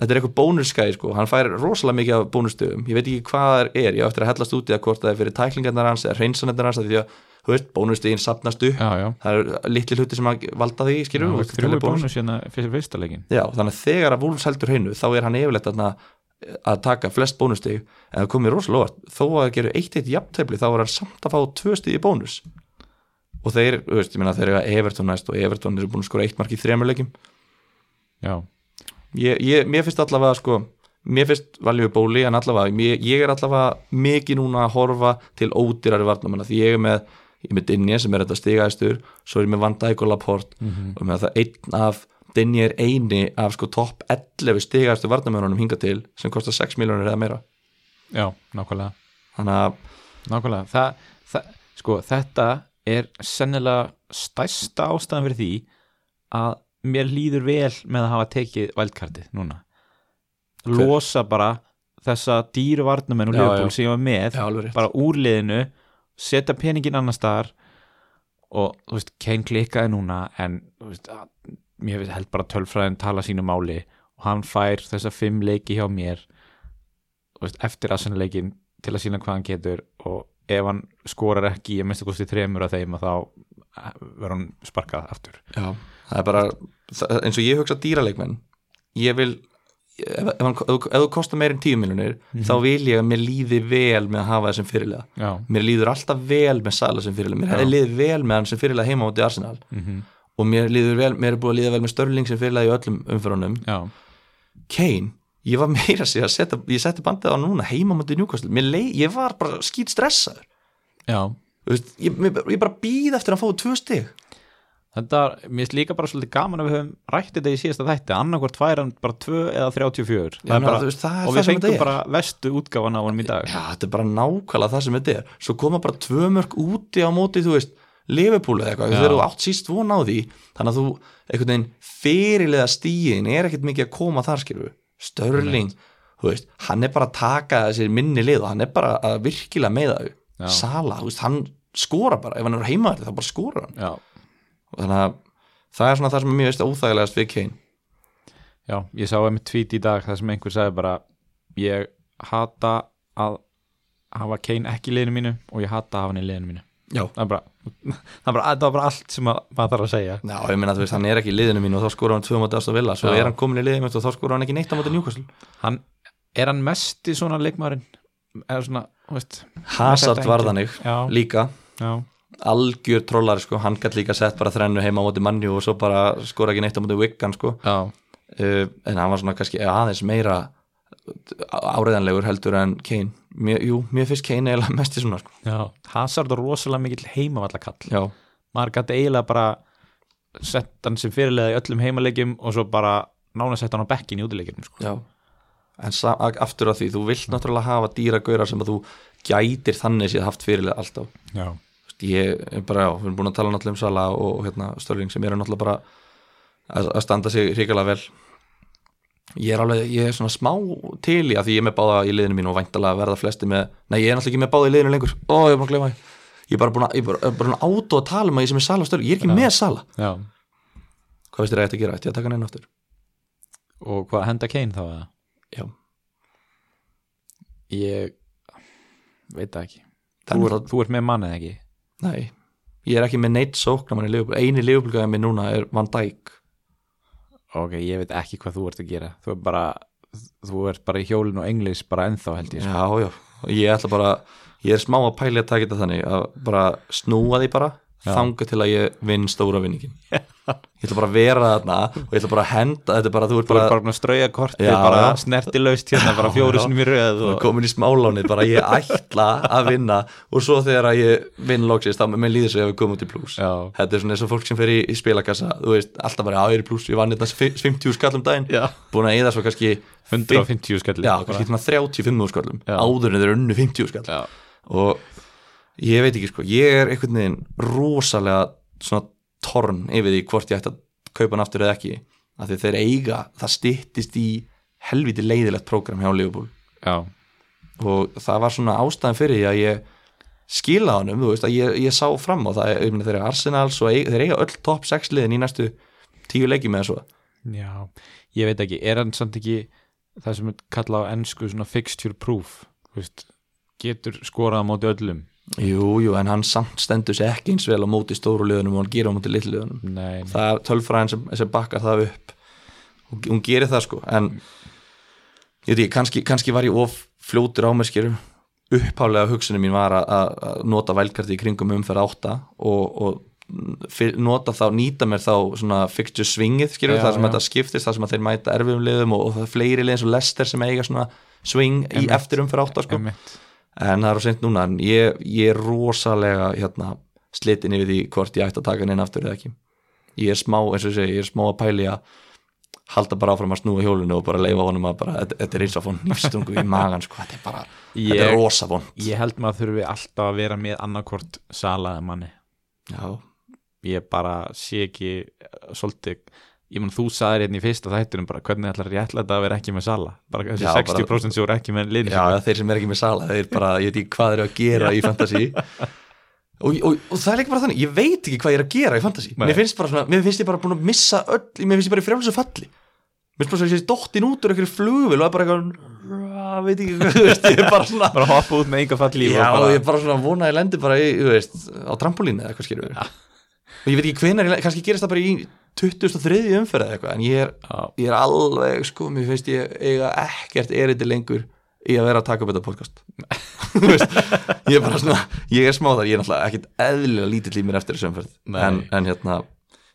þetta er eitthvað bónusskæði sko, hann fær rosalega mikið af bónusstöfum, ég veit ekki hvað það er ég á eftir að hellast út í það hvort það er fyrir tæklingarnar hans eða hreinsanendarnar hans, af því að þú veist, bónusstöfin sapnast upp,
já, já
það eru litli hluti sem að valda því,
Já,
skilur
Þrjú er bónus hérna fyrir fyrsta leikin
Já, þannig að þegar að Wolves heldur hreinu þá er hann yfirleitt þarna eh, að taka flest bónustig en það komið rosalega óvart. þó að það gerir eitt eitt jafntefli þá er hann samt að fá tvö stig í bónus og þeir, þú veist, ég meina þeir eru að Everton næst og Everton eru búin að skora eitt mark í þremur leikjum
Já,
ég, ég, mér finnst allavega sko mér finnst valjöfu bóli en allavega ég, ég er allavega mikið núna að horfa til ódýrari varnamanna því ég er með ég er með Dinje sem er þetta stigaðistur svo er ég með Van Dijk og Laporte
Mhm.
og með það einn af Dinje er eini af sko topp 11 stigaðistu varnamennunum hinga til sem kostar 6 miljónir eða meira
já, nákvæmlega
þannig að
Nákvæmlega, Þa, það, sko, þetta er sennilega stærsta ástæðan fyrir því að mér líður vel með að hafa tekið vældkartið núna losa bara þessa dýru varnamenn og
Já,
liðból
já.
sem ég var með
alveg rétt
bara úr liðinu, setja peningin annar staðar og þú veist, Kane klikkaði núna en þú veist, að- mér held bara tölfræðin tala sínu máli og hann fær þessa fimm leiki hjá mér þú veist, eftir aðsennleikin til að sína hvað hann getur og ef hann skorar ekki ég minnst að kosti þremur af þeim að þá eh, verður hann sparkað aftur
Já. það er bara það- eins og ég hugsa dýraleikmenn ég vil ef, ef, hann- ef, þú- ef þú kostar meir en 10 miljónir þá vil ég að mér líði vel með að hafa þessum fyrirlega
Já,
mér líður alltaf vel með Sala sem fyrirlega mér hefði liðið vel með hann sem fyrirlega heima átti Arsenal
mm
og mér, líður vel, mér er búið að líða vel með Störling sem fyrirlega í öllum umfyrunum
já,
Kane, ég var meira sér að setja ég setti bandið á núna heima átti Newcastle Mér leið, ég var bara skýt stressaður
já
Þú veist, ég, mér, ég bara býð eftir að fá tvö stig
Þetta, mér finnst líka bara svolítið gaman að við höfum rætt þetta í síðasta þætti, annarkvort væri hann bara 2 eða 34
Já,
er
ná,
bara,
þú veist, það er
og
það
við
sem þetta
fengum
er.
bara vestu útgáfan á hann í dag
Já, þetta er bara nákvæmlega það sem þetta er Svo koma bara tvö mörg úti á móti þú veist, Liverpool eða eitthvað
Já.
þegar þú átt síst von á því þannig að þú einhvern veginn fyrirlega stíðin er ekkert mikið að koma þar skilur Störling, þú veist hann er bara að taka þessir minni lið og hann er bara að virkilega meða
Já.
þau Sala, þú veist, hann skora bara ef hann er heima þetta, þá bara skora hann
Já,
og þannig að það er svona það sem er mjög veist óþægilegast við Kane
já, ég sá einmitt tweet í dag þar sem einhver sagði bara ég hata að hafa Kane ekki í liðinu mínu og ég hata að hafa hann í liðinu mínu
Já,
það er bara, það er bara, það er bara allt sem að, maður þarf að segja
Já, ég meina þú veist, hann er ekki í liðinu mínu og þá skora hann tvö móti ástu vilja, svo
Já.
er hann komin í liðinu mitt og þá skora hann ekki neitt á móti njúkastl
hann, Er hann mest í svona leikmaðurinn? Eða svona, þú veist
Hazard
Þetta
var
engin-
þannig
Já.
líka
Já,
algjör trollari sko, hann gætt líka sett bara þrennu heima á móti mannjú og svo bara skora ekki neitt á móti Wiggan sko, uh,
já,
en hann var svona kannski aðeins meira áreðanlegur heldur en Kane mér, jú, mér finnst Kane eiginlega mest í svona sko.
já. Hazard er rosalega mikill heimavallakall
já,
maður gæti eiginlega bara sett hann sem fyrirlega í öllum heimalegjum og svo bara nána sett hann á bekkin í útilegjum sko.
já en sa- a- aftur að því, þú vilt náttúrulega hafa dýra gaurar sem að þú gætir þannig séð haft fyrirlega alltaf
Já,
Þú veist, ég er bara, já, við erum búin að tala náttúrulega um Sala og, og hérna Störling sem eru náttúrulega bara að, að standa sig hrikalega vel ég er alveg, ég er svona smá til í að því ég er með báða í liðinu mínu og væntalega verða flesti með, nei ég er náttúrulega ekki með báða í liðinu lengur ó, ég er búin að gleyma því ég er bara búin að, ég er bara, bara átó að tala um að ég sem er Sala og Störling, ég er ekki með Sala
já.
hvað veist þér að þetta gera, ætti ég að taka hann einn aftur
Og hvað henda Kane þá eða?
já,
Ég veit það ekki Þú,
þannig
er,
að,
þú ert með mann eða ekki?
nei ég er ekki með neitt sóknamann í Liverpool eini Liverpool-gæðin minn núna er Van Dijk
Ok, ég veit ekki hvað þú ert að gera Þú ert bara, þú ert bara í hjólinu og englis bara ennþá held ég sko.
Já, já, ég ætla bara ég er smá að pæli að taka þetta þannig að bara snúa því bara
Já.
þanga til að ég vinn stóra vinningin ég ætla bara að vera þarna og ég ætla bara að henda, þetta er bara, þú ert
Þú
bara,
ert bara búin að strauja kortið
Já,
bara
já.
snertilaust hérna bara
Já,
fjóru
já.
sinni mér röð og...
komin í smálánið, bara ég ætla að vinna og svo þegar að ég vinn loksist, þá með líður svo ef við komum út í pluss
Já,
þetta er svona eins og fólk sem fer í, í spilakassa þú veist, alltaf bara, já, ég er í pluss, ég vann hérna þetta 50 skallum um daginn,
já.
búin að eða svo kannski
150 skallir
já, kannski svona 35 skallum
Já.
áður en þeir unnu 50 skall
já.
og ég veit ekki sko, ég er einhvern veginn rosalega svona torn yfir því hvort ég ætti að kaupa hann aftur eða ekki af því þeir eiga, það styttist í helviti leiðilegt prógram hjá Liverpool
já,
og það var svona ástæðan fyrir því að ég skila honum, þú veist að ég, ég sá fram á það, ég meina þeir eru Arsenal svo eig, þeir eiga öll topp 6 liðin í næstu tíu leikjum eða svo
Já, ég veit ekki, er hann samt ekki það sem er kallað á ennsku svona fixture proof, þú veist getur skorað á móti öllum
Jú, jú, en hann samt stendur sér ekki eins vel á móti stóru liðunum og hann gera á móti litlu liðunum
Nei, nei.
það er tölfræðin sem, sem bakkar það upp og hún gerir það sko en
Mm.
ég veit ekki, kannski, kannski var ég of fljótur á mér skýrum upphálega hugsunum mín var að- að að nota vælkarti í kringum umferð átta og, og fyr, nota þá, nýta mér þá svona fixture swingið skýrum,
Já,
það sem
já.
þetta skiptist, það sem að þeir mæta erfiðum liðum og, og það er fleiri lið eins og lester sem eiga svona swing í
Einmitt.
eftir umferð átta sko
Einmitt.
en það er á seint núna, en ég, ég er rosalega hérna, slitin yfir því hvort ég ætti að taka hann inn aftur eða ekki ég er smá, eins og ég segi, ég er smá að pæli að halda bara áfram að snúa hjólinu og bara leifa honum að bara, þetta, þetta er eins og að fóna nýfstungu í magan, sko, þetta er bara þetta
Ég-
er rosafón
Ég held maður þurfi alltaf að vera með annarkvort salaði manni
já,
ég bara sé ekki eh, svolítið, ég menn þú saðir hérna í fyrsta þættinum bara hvernig ætlar ég ætla þetta að vera ekki með sala bara þessi
Já, bara-
60% sem voru ekki með liðni
já, þeir sem er ekki með sala þeir bara, ég veit ekki hvað þeir eru að gera í fantasy og, og, og það er líka bara þannig ég veit ekki hvað ég er að gera í fantasy
Nei.
mér finnst, bara svona, mér finnst ég bara búin að missa öll mér finnst ég bara í frjálsu falli mér finnst bara svo að ég sé dottin út úr einhverju flugvil og er bara eitthvað veit ekki, hvað, þú veist, ég er bara svona
bara hoppa út með enga fall líf
Já,
og bara,
ég bara svona vona að ég lendi bara í, þú veist, á trampolínu eða eitthvað skilur við og ég veit ekki hvenar, ég le- kannski gerist það bara í 2003 umferð eða eitthvað en ég er,
Já.
ég er alveg, sko, mér finnst ég eiga ekkert erindi lengur í að vera að taka upp þetta podcast Þú veist, ég er bara svona, ég er smá þar ég er náttúrulega ekkert eðlilega lítill í mér eftir þessu umferð
Nei.
en, en hérna,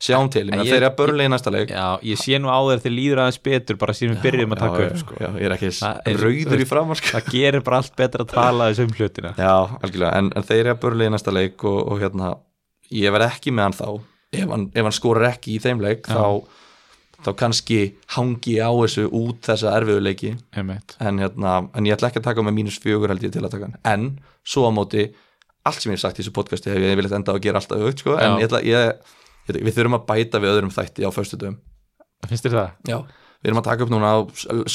sjáum til
En
en
ég-
þeir eru að börnlega í næsta leik
já, ég sé nú á þér þegar líður aðeins betur bara síðan við byrjum að
Já,
taka
já,
upp sko.
já, ég er ekki
Það er- þú
rauður í
veist,
framar sko.
það gerir bara allt betra að tala þessum hlutina
Já, algjörlega, en, en þeir eru að börlega í næsta leik og, og hérna, ég verð ekki með hann þá ef hann, ef hann skorar ekki í þeim leik
Já.
þá, þá kannski hangi ég á þessu út þessa erfiðuleiki
einmitt,
en, hérna, en ég ætla ekki að taka með mínus fjögur held ég til að taka hann en svo á móti allt sem ég hef sagt í þessu podcasti hef ég vilja enda á að gera alltaf aukt sko,
Já.
en ég ætla, ég, ég, við þurfum að bæta við öðrum þætti á föstudöfum
finnst þér það?
Já, við erum að taka upp núna á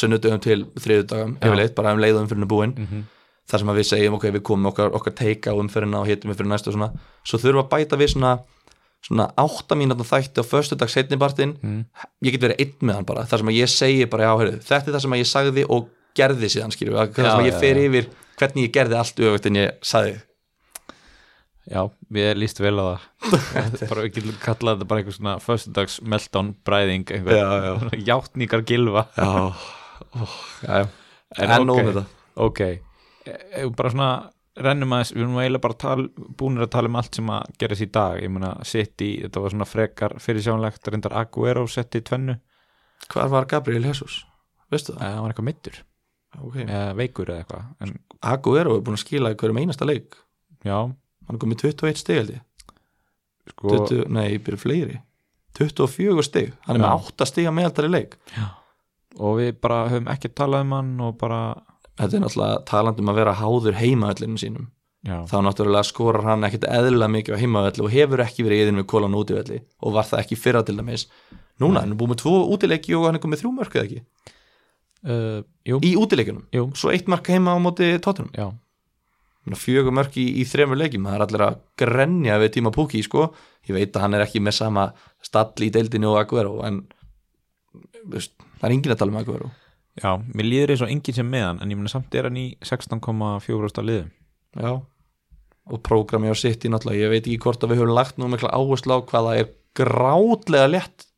sunnudögum til þriðudögum,
Já.
yfirleitt, bara um leiðum fyrir búin,
Mm
þar sem að við segjum ok, við komum með okkar, okkar teika á umferðina og hittum við fyrir næstu og svona, svo þurfum við að bæta við svona, svona átta mínútna þætti á föstudag setnibartin,
Mm.
ég get verið einn með hann bara, þar sem að ég segi bara já, heyrðu, þetta er það sem að ég sagði og gerði síðan, skilju, þar
Já,
sem að ég
já,
fer yfir hvernig ég gerði allt öfugt en ég sagði,
Já, við líst vel á það bara við getum kallað þetta bara einhver svona föstudags meltdown bræðing
Já,
játningar gilva
já, ó, já, já.
En
en, en
ok.
okay. þetta,
ok, e e bara svona rennum aðeins, við erum eiginlega bara tal, búinir að tala um allt sem að gerast í dag ég meina, City, þetta var svona frekar fyrirsjónlegt, reyndar Aguero setti í tvennu
hvar var Gabriel Jesus? Veistu það?
það var eitthvað mittur,
Okay.
eða veikur eða eitthvað en
Aguero er búin að skila í hverjum einasta leik
já,
hann er komið 21 stig held ég
sko
20, nei, ég byrja fleiri 24 stig, hann er
Já.
með 8 stig að meðaldari leik
og við bara höfum ekki talað um hann og bara,
þetta er náttúrulega talandi um að vera háður heimaöllinu sínum
já,
þá náttúrulega skorar hann ekkit eðlilega mikið á heimaöllu og hefur ekki verið yðin við kólan útivelli og var það ekki í fyrra til dæmis núna, hann er búið með 2 útileiki og hann er komið 3 mörk eða ekki,
uh, jú,
í útileikunum
jú
svo eitt mark heima á móti tóttunum
já,
fjögur mörk í, í þremur leikim það er allir að grenja við tíma púki sko. ég veit að hann er ekki með sama stall í deildinu og Aguero en þú veist, það er engin að tala um Aguero
Já, mér líður eins og enginn sem með hann en ég meina samt er hann í 16,4 liðum
Já. og prógrami á sitt í náttúrulega ég veit ekki hvort að við höfum lagt nú mikla áherslu á hvað það er grátlega lett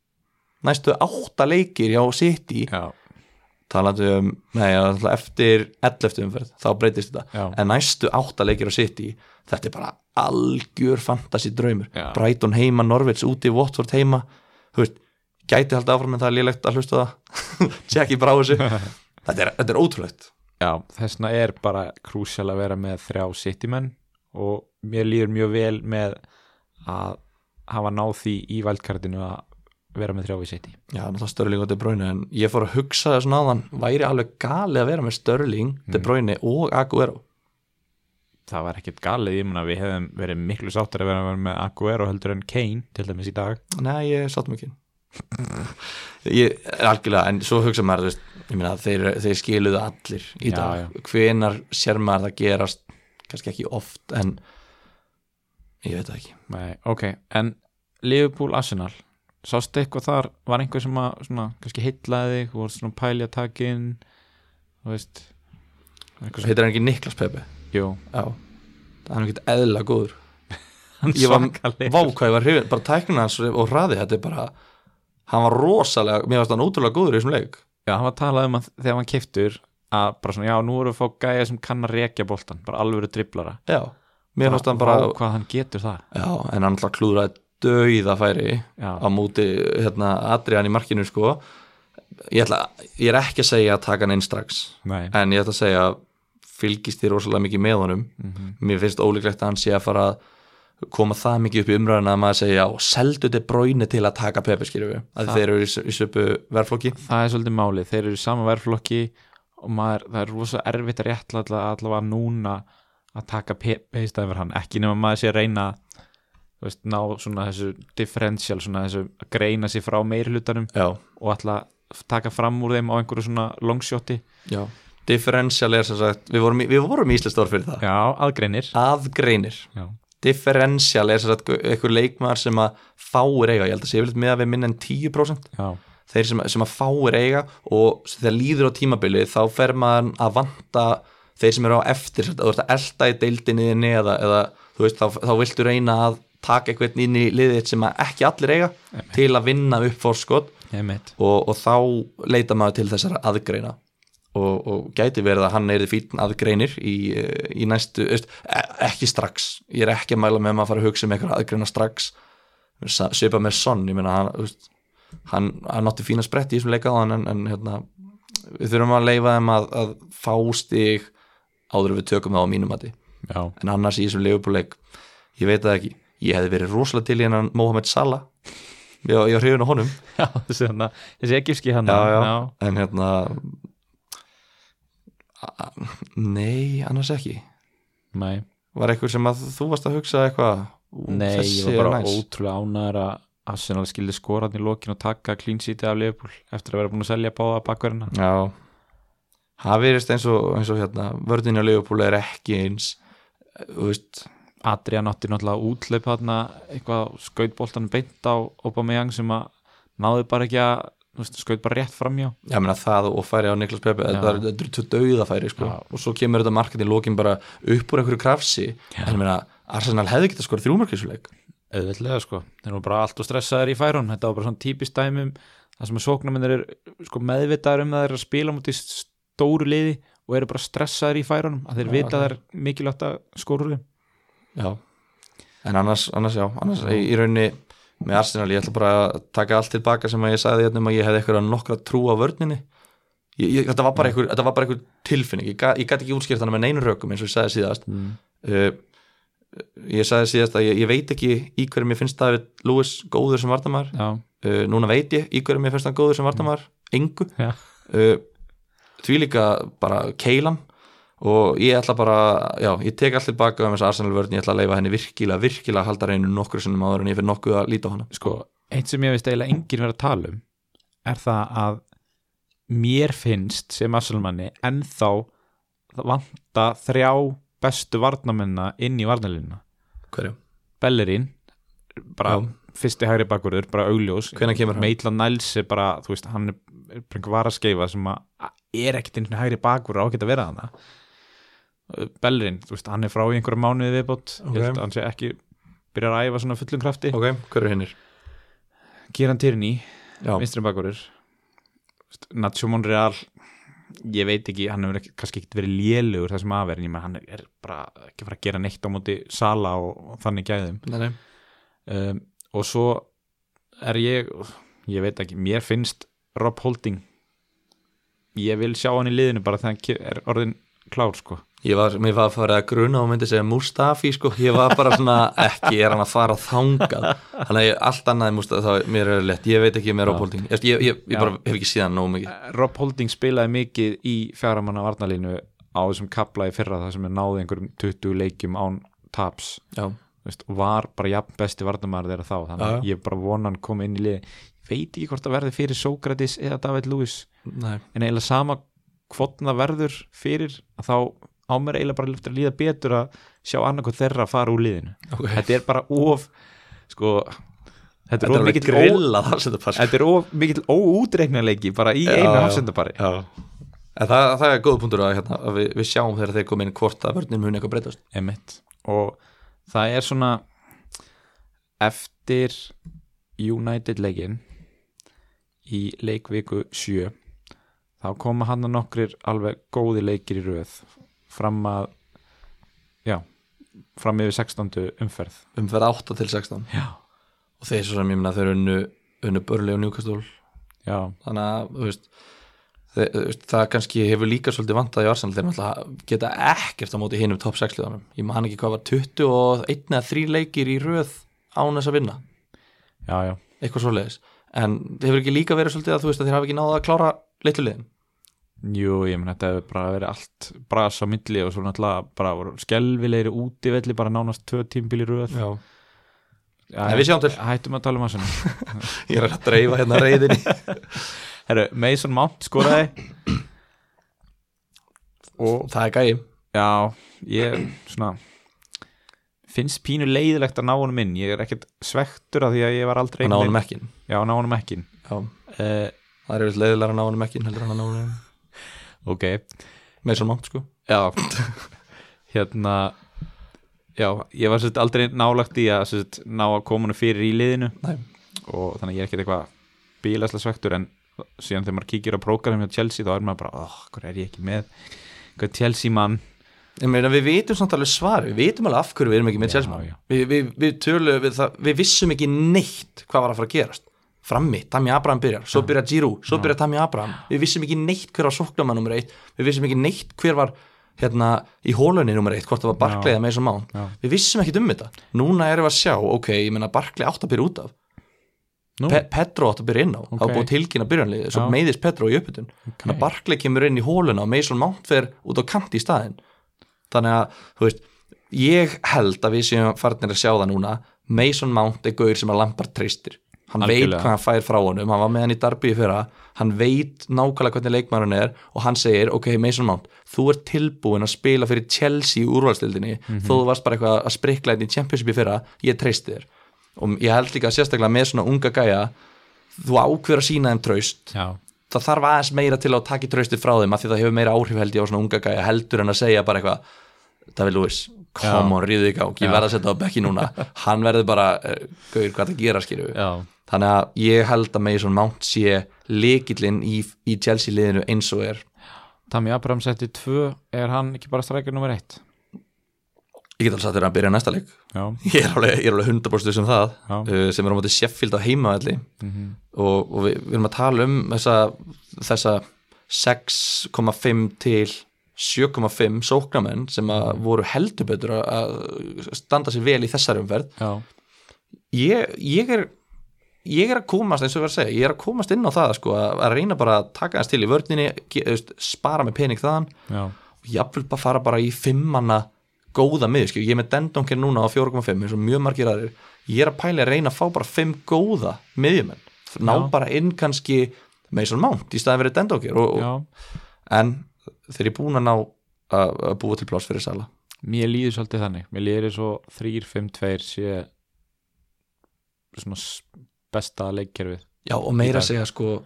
næstu átta leikir hjá sitt í
Já,
talandi um, nei, náttúrulega eftir 11. umferð, þá breytist þetta
já,
en næstu átta leikir á City þetta er bara algjör fantasi draumur
Já.
Brighton heima, Norvits úti Watford heima, þú veist gæti haldið áfram en það er lélegt að hlusta á það tjekki bara á þessu þetta er, þetta er ótrúlegt
já þessna er bara krúsjál að vera með þrjá sittimenn og mér líður mjög vel með að hafa náð því í vældkartinu að vera með þrjá við sitti
Já, náttúrulega Störling og De Bruyne en ég fór að hugsa það svona áðan væri alveg gali að vera með Störling, De Bruyne og Aguero
Það var ekkert galið, ég meina við hefum verið miklu sáttar að vera að vera með Aguero heldur en Kane til dæmis í dag
Nei, ég satt mjög kyn Ég er algjörlega, en svo hugsa maður þú veist, ég meina, þeir, þeir skiluðu allir í
Já,
dag, hvenar sér maður það gerast, kannski ekki oft en ég veit það ekki
Nei, ok, en Liverpool Arsenal sástu eitthvað þar, var einhver sem að svona, kannski heitlaði þig, voru svona pæli að taka inn þú veist
Svo heitir hann ekki Niklas Pepe
Jú,
Já, það er ekki eðla góður
hann
Ég var
svakaleg
vákvæði var hrifin, bara tæknina hans og hraði þetta er bara, hann var rosalega mér varst hann ótrúlega góður í þessum leik
Já, hann var að tala um að þegar hann keftur að bara svona, já, nú erum við að fá gæja sem kann að rekja boltan, bara alvöru driblara
Já, mér varst hann bara
Vá, hvað hann getur það
Já, en hann alltaf klúðraði döiða færi
Já,
á móti hérna, Adrian í markinu sko. ég, ætla, ég er ekki að segja að taka hann inn strax
nei
en ég ætla að segja að fylgist þér rosalega mikið með honum
Mhm.
mér finnst ólíklegt að hann sé að fara að koma það mikið upp í umræðina að maður segja já, seldu þetta bróinu til að taka Pepe skilju, að
Það-
þeir eru í, s- í söpu verflokki
Það er svolítið málið, þeir eru í sama verflokki og maður, það er rosa erfitt að réttla allavega núna að taka peista yfir hann, ekki nema maður sé að reyna þú veist, ná svona þessu differential, svona þessu að greina sér frá meirhlutanum
já,
og alltaf taka fram úr þeim á einhverju svona longshoti
já, differential er sem sagt við vorum, í- við vorum í Íslastór fyrir það
Já, aðgreinir
aðgreinir
Já,
differential er sem sagt einhver leikmaður sem að fáir eiga, ég held að sé yfirleitt með að við minna en 10%
já,
þeir sem, sem að fáir eiga og þegar líður á tímabilið þá fer maður að vanta þeir sem eru á eftir, þú ert að elta í deildinni þinni eða, eða þú veist, þá, þá viltu reyna að taka einhvern inn í liðið þitt sem að ekki allir eiga til að vinna upp fórskot
einmitt
og, og þá leita maður til þessara aðgreina og, og gæti verið að hann er fín aðgreinir í, eh, í næstu, veist, e- ekki strax ég er ekki að mæla með að maður að fara að hugsa um einhverja aðgreina strax svipa með sonn, ég meina hann, þú veist, hann, hann átti fína sprett í þessum leika áðan en, en hérna, við þurfum að leifa þeim að, að fá stig áður en við tökum það á mínum mati
Já,
en annars í þessum leifupúleik ég veit það ekki, ég hefði verið rosalega til í hennan Mohamed Salah ég, var- ég var hrifin á honum
Já, þessi, hana, þessi egypski hann
já, já. en hérna a- a- nei, annars ekki
Nei,
var eitthvað sem að þú varst að hugsa eitthvað ú,
nei ég
þessi
var
er
bara
næs.
ótrúlega ánæður að Arsenal skildi skoran í lokin og taka clean sheetið af Liverpool eftir að vera búin að selja báða bakverðina
Já Það verist eins og, eins og hérna vörðinni á Leopold er ekki eins þú veist,
Adrian átti náttúrulega útleip hérna eitthvað skautboltan beint á Aubameyang sem að náði bara ekki að þú veist, skaut bara rétt framjá
ég meina það og færi á Niklas Pepe,
Já.
þetta er- þetta eru tvö dauðafæri sko.
Já.
og svo kemur þetta markað í lokin bara upp úr einhverju krafsi en ég meina, Arsenal hefði getað skorað þrjúmarkisleik
auðvitað sko, þeir eru bara allt og stressaðir í færun þetta var bara svona típist dæmum það sem að sóknarmennir eru sko, meðvitaðir um að þeir eru að spila mútið stóru liði og eru bara stressaðir í færunum að þeir
Já,
vita að það er mikilvægt að skóru þeim
Já En annars, annars já, annars í, í rauninni með Arsenal, ég ætla bara að taka allt tilbaka sem að ég sagði hérna um að ég hefði eitthvað nokkra trú á vörninni ég, ég, þetta, var bara einhver, þetta var bara einhver tilfinning ég, ga- ég gæti ekki útskýrt hana með neinu rökum eins og ég sagði síðast
Mm.
uh, ég sagði síðast að ég, ég veit ekki í hverju mér finnst David Lewis góður sem vartamar uh,
já,
núna veit ég í hverju mér finnst hann góður sem vartamar engu
já,
uh, því líka bara keilan og ég ætla bara, já, ég tek allt tilbaka um þessu Arsenal vörðin, ég ætla að leifa henni virkilega, virkilega að halda reynu nokkru sinnum áður en ég fyrir nokkuð að líta á hana
sko, eitt sem ég veist eiginlega enginn verið að tala um er það að mér finnst sem asalmanni ennþá vanta þrjá bestu varnamennina inn í varnalínuna
Hverju?
Bellerín bara
Já.
fyrsti hægri bakurður, bara augljós
Hvenær kemur hann?
Maitland Niles er bara, þú veist, hann er er bara einhver varaskeifa sem að er ekkert einhvern hægri bakurður á að geta verið hann Bellerín, þú veist, hann er frá í einhverja mánuði viðbót,
Ok.
ég held að hann sé ekki byrjar að æfa svona fullum krafti
Ok, hverju hinnir?
Kieran Tierney,
Já,
vinstri bakurður Nacho Monreal ég veit ekki, hann hefur ekki, kannski ekkert verið lélugur það sem aðverðin, ég menn hann er bara ekki að fara að gera neitt á móti Sala og, og þannig gæðum
nei, nei,
um, og svo er ég ég veit ekki, mér finnst Rob Holding ég vil sjá hann í liðinu bara þegar hann ke- er orðin klár sko
ég var, mér var að fara að gruna og myndi segja Mustafi, sko, ég var bara svona ekki, er hann að fara þangað þannig að ég, allt annað Mustafi, þá mér er lett ég veit ekki með Róbólding, ég, ég, ég, ég bara hef ekki síðan nóg mikið
Rob Holding spilaði mikið í fjármanna varnalínu á þessum kapla í fyrra það sem er náði einhverjum 20 leikjum án taps
Já,
þú veist, og var bara jafn besti varnamæður þeirra þá þannig
Já,
að
já.
ég bara vona hann kom inn í liði Ég veit ekki hvort það verði fyrir Sókratis eða David Lewis
nei,
en eiginlega sama hvort það verður fyrir að þá á mér eiginlega bara eftir að líða betur að sjá annarkoð þeirra fara úr liðinu
ok
þetta er bara of sko, þetta er
Þetta
of
er alveg
mikill ó-
grillað af þetta pass
þetta er of mikill óútreiknarleiki bara í
Já,
einu
já.
hafsendapari
Já, en það, það er góð punktur að, hérna, að við, við sjáum þegar þeir koma inn hvort að vörnum hún eitthvað breytast
Emitt. og það er svona eftir United leikin í leikviku 7 þá koma hann að nokkrir alveg góði leikir í röð fram að já, fram yfir 16. umferð
umferð 8 til 16
já,
og þeir svo sem ég minna þeir unnu, unnu börli og njúkastól
já,
þannig að þú veist, þeir, þú veist, það kannski hefur líka svolítið vantað í Arsenal þeir náttúrulega geta ekkert á móti hinum top 6 liðanum ég man ekki hvað var 21 eða 3 leikir í röð án þess að vinna
já, já.
eitthvað svoleiðis en þeir hefur ekki líka verið svolítið að þú veist að þeir hafa ekki náða að klára leitluliðin
Jú, ég menn þetta hefur bara verið allt bras á milli og svo náttúrulega bara voru skelvilegri útivelli bara nánast tvö tímbili röð
Já.
já,
En við sjáum til.
Hættum að tala um aðsuna
ég er að dreifa hérna reyðinni
Herru, Mason Mount skoraði og
það er gæi
já, ég svona finnst pínu leiðilegt að ná honum inn ég er ekkert svektur af því að ég var aldrei
hann á hann
einhvern
mekkin
veginn- já, ná honum ekki
Já,
uh,
Eh, það er eitthvað leiðilega að ná hann ekki heldur en að ná hann
ok,
með svona mátt sko
já hérna já, ég var sérst aldrei nálagt í að sérst, ná að koma honum fyrir í liðinu
Nei.
og þannig að ég er ekkert eitthvað bílaslega svektur en síðan þegar maður kíkir á prógram hjá Chelsea þá er maður bara, oh, hvað er ég ekki með hvað Chelsea mann
Ég meina við vitum samt alveg svar við vitum alveg af hverju við erum ekki með
Já,
Chelsea
já.
við, við, við, tölu, við, það, við vissum ekki neitt hvað var að fara að gerast frammi, Tami Abraham byrjar, svo byrjar Giroud svo byrjar Tami Abraham, við vissum ekki neitt hver var sóknamann nummer eitt, við vissum ekki neitt hver var hérna í hólunni nummer eitt hvort það var Barkley
Já.
eða Mason Mount
Já.
við vissum ekkit um þetta, núna erum við að sjá ok, ég meina Barkley átt að byrja út af
Nú,
Pe Pedro átt að byrja inn á, það var
Ok.
búið tilkynna byrjanliðið, svo
Já.
meiðist Pedro í upputun þannig
Ok.
að Barkley kemur inn í hóluna og Mason Mount fer út á kant í staðinn þannig að, þú veist ég held að við séum farnir að sjá það núna Mason Mount er gaur sem að Lampard treystir hann veit
Algjörlega.
hvað hann fær frá honum hann var með hann í Darby í fyrra hann veit nákvæmlega hvernig leikmærin er og hann segir, ok Mason Mount, þú ert tilbúin að spila fyrir Chelsea í úrvalstildinni
Mhm.
þó þú varst bara eitthvað að sprikla einn í Championship í fyrra, ég treysti þér og ég held líka sérstaklega með svona unga gæja þú ákveður að sína þeim traust
já,
það þarf aðeins meira til að taka í traustið frá þeim að því það hefur meira áhrif held ég á svona unga gæja heldur en að segja bara eitthvað David Lewis, come
Já.
on, ríðu í gang ég
Já.
verð að setja á bekki núna, hann verður bara eh, gaur, hvað það gera skýrðu
já,
þannig að ég held að Mason Mount sé likillinn í, í Chelsea liðinu eins og er,
Tammy Abraham setti tvö er hann ekki bara strækir nummer eitt
ég get alveg satt þér að byrja næsta leik
já,
ég er alveg, ég er alveg 100% um það
Já.
uh, sem er á móti Sheffield á heimavalli
Mhm.
og, og við, við erum að tala um þessa, þessa 6,5 til 7,5 sóknamenn sem að
Mhm.
voru heldur betur að- að standa sér vel í þessari umferð
já,
ég, ég er ég er að komast eins og ég var að segja ég er að komast inn á það sko, að, að reyna bara að taka hans til í vörninni ge- þú veist, spara með pening þaðan
já,
og jafnvel bara fara bara í fimmanna góða miðskjöf, ég er með dendonker núna á 4.5 eins og mjög margir aðrir ég er að pæli að reyna að fá bara 5 góða miðjumenn, ná
Já.
bara inn kannski Mason Mount í staðan verið dendonker og,
já
og, en þeir eru búin að ná að að búa til pláss fyrir Sala
mér líður svolítið þannig mér líður eins og 3-5-2 sé svona s- besta leikkerfið
já og meira
Í dag.
að segja sko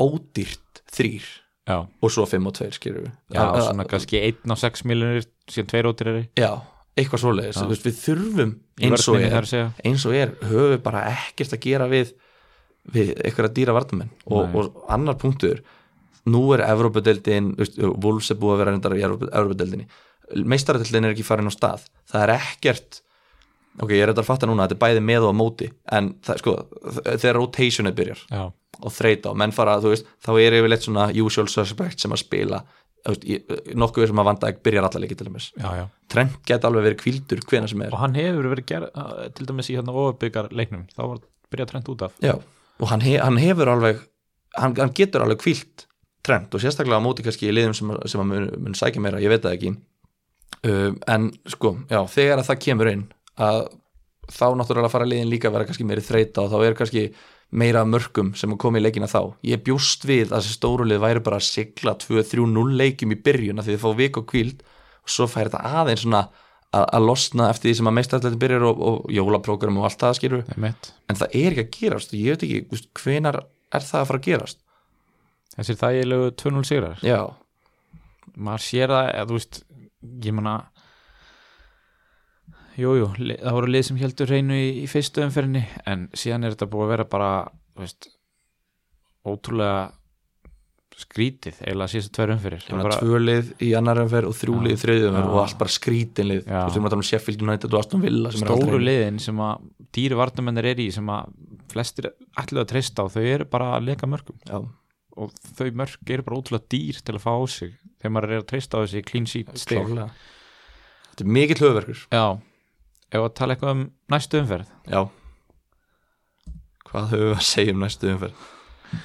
ódýrt þrýr
já,
og svo 5 og 2 skilur við
já
Að- að-
svona kannski 1 á 6 miljonir síðan 2 rótirir
já, eitthvað svoleiðis
Já.
Þú veist, við þurfum eins og er
þar að segja
eins og er höfum við bara ekkert að gera við við einhverja dýra vartamenn og,
Nei.
og annar punktur nú er Evrópadeildin þú veist, Wolves er búið að vera reyndar í Evrópa- Evrópadeildinni meistaradeildin er ekki farin á stað það er ekkert ok, ég er þetta að fatta núna, þetta er bæði með og á móti en það, sko, þ- þegar rotationið byrjar
já,
og þreita og menn fara, þú veist, þá er yfirleitt svona usual suspect sem að spila þú veist, ég- nokkuð sem að vanda ekki byrjar allar leikið til þess
já, já
Trent geta alveg verið kvildur hvena sem er
og hann hefur verið gerð uh, til dæmis í hérna ofabyggar leiknum þá var byrjað trend út af
Já, og hann, he, hann hefur alveg hann, hann getur alveg kvílt trend og sérstaklega á móti kannski í liðum sem, sem að mun, mun sækja meira, ég veit það ekki um, en sko, já, þegar að það kemur inn að þá náttúrulega fara liðin líka að vera kannski meiri þreita og þá er kannski meira af mörkum sem að koma í leikina þá ég bjóst við að þessi stóru lið væri bara að sigla 2-3-0 leikjum í byrjun af því þið fá vik og kvíld og svo fær þetta aðeins svona að að losna eftir því sem að meistarallegin byrjar og, og jólaprógram og allt það skilur
Einmitt.
en það er ekki að gerast og ég veit ekki þú veist, hvenar er það að fara að gerast
þessir þægilegu 2-0 sigrar
já,
maður sér það, eða, þú veist ég manna jújú, það voru lið sem heldur reynu í, í fyrstu umferðinni en síðan er þetta búið að vera bara þú veist, ótrúlega skrítið eiginlega síðustu tverju umferðir
bara,
bara,
tvö lið í annar umferð og þrjú
Já.
lið í þriðju umferð
Já.
og allt bara skrítin lið
Já.
þú veist, við erum að tala um Sheffield United og Aston Villa sem er
stóru
aldrei-
liðin sem að dýri vartamennir er í sem að flestir ætlu að treysta á þau eru bara að leka mörgum
já,
og þau mörg eru bara ótrúlega dýr til að fá á sig þegar maður er að treysta á þessi clean sheet stig
klárlega. þetta er mikill höfverkur
Já, ef að tala eitthvað um næstu umferð
já hvað höfum við að segja um næstu umferð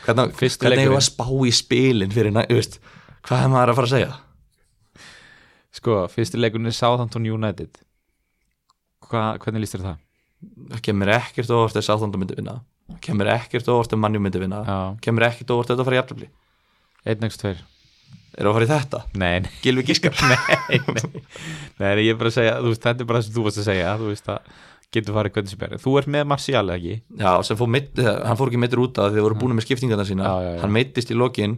hvernig,
Fyrsti
hvernig hefur
leikurinn.
að spá í spilin fyrir næ, þú veist, hvað er maður að fara að segja
Sko, fyrsti leikurinn er Southampton United Hva, Hvernig líst þér það?
það kemur ekkert óvart ef Southampton myndi vinna það kemur ekkert óvart ef Manju myndi vinna það
Já,
kemur ekkert óvart ef þetta fara í jafnabli
einn nægst tveir
er það að fara í þetta?
Nei, nei,
Gilvi Gískar
nei, nei, nei, ég er bara að segja þú veist, Þetta er bara það sem þú varst að segja Þú veist að getur farið hvernig sem er Þú ert með Martial eða ekki
Já, sem fór meitt, hann fór ekki meittur út af því þið voru búin með skiptingarna sína
Já, já, já.
hann meittist í lokin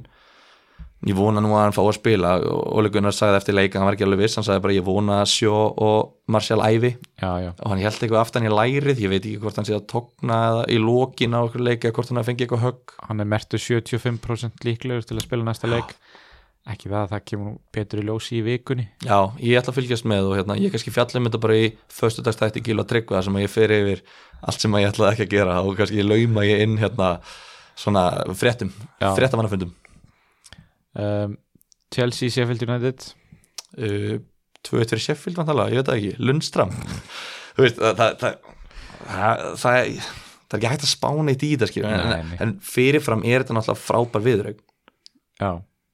ég vona nú að hann fá að spila Óli Gunnar sagði eftir leik að hann var ekki alveg viss hann sagði bara ég vona að sjó og Marcial æfi
Já, já,
og hann held eitthvað aftan í lærið ég veit ekki hvort hann sé að togna eða í lokin á okkur leik eða hvort hann fengi eitthvað högg
hann er mertu 75% líklegur til að spila næsta leik Ekki það að það kemur nú betur í ljósi í vikunni
Já, ég ætla að fylgjast með og hérna, ég kannski fjallum þetta bara í föstudagstætti gil og tryggva þar sem að ég fer yfir allt sem að ég ætlaði ekki að gera og kannski lauma ég inn hérna svona fréttum,
Já.
fréttamannafundum
um, Chelsea, Sheffield United
uh, 2-1 fyrir Sheffield vantalega, ég veit það ekki, Lundstram þú veist, það það, það, það, það það er ekki hægt að spána eitt í þetta skilur,
Nei,
en,
nei.
en fyrirfram er þetta náttúrulega frábær viðraug
já,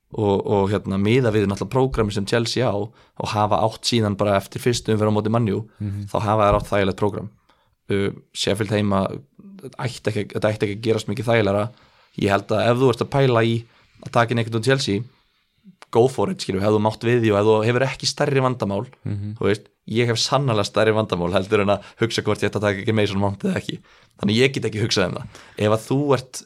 og, og hérna, miða við náttúrulega prógrami sem Chelsea á og hafa átt síðan bara eftir fyrstu umverð á móti mannjú þá hafa þær átt þægilegt prógram uh, Sheffield heima þetta ætti ekki, þetta ætti ekki að gerast mikið þægilega ég held að ef þú ert að pæla í að taka inn einhvern um Chelsea go for it, skilju, ef þú mátt við því og ef þú hefur ekki stærri vandamál
Mhm.
þú veist, ég hef sannlega stærri vandamál heldur en að hugsa hvort ég ætti að taka ekki Mason Mount eða ekki, þannig ég get ekki hugsað um það ef að þú ert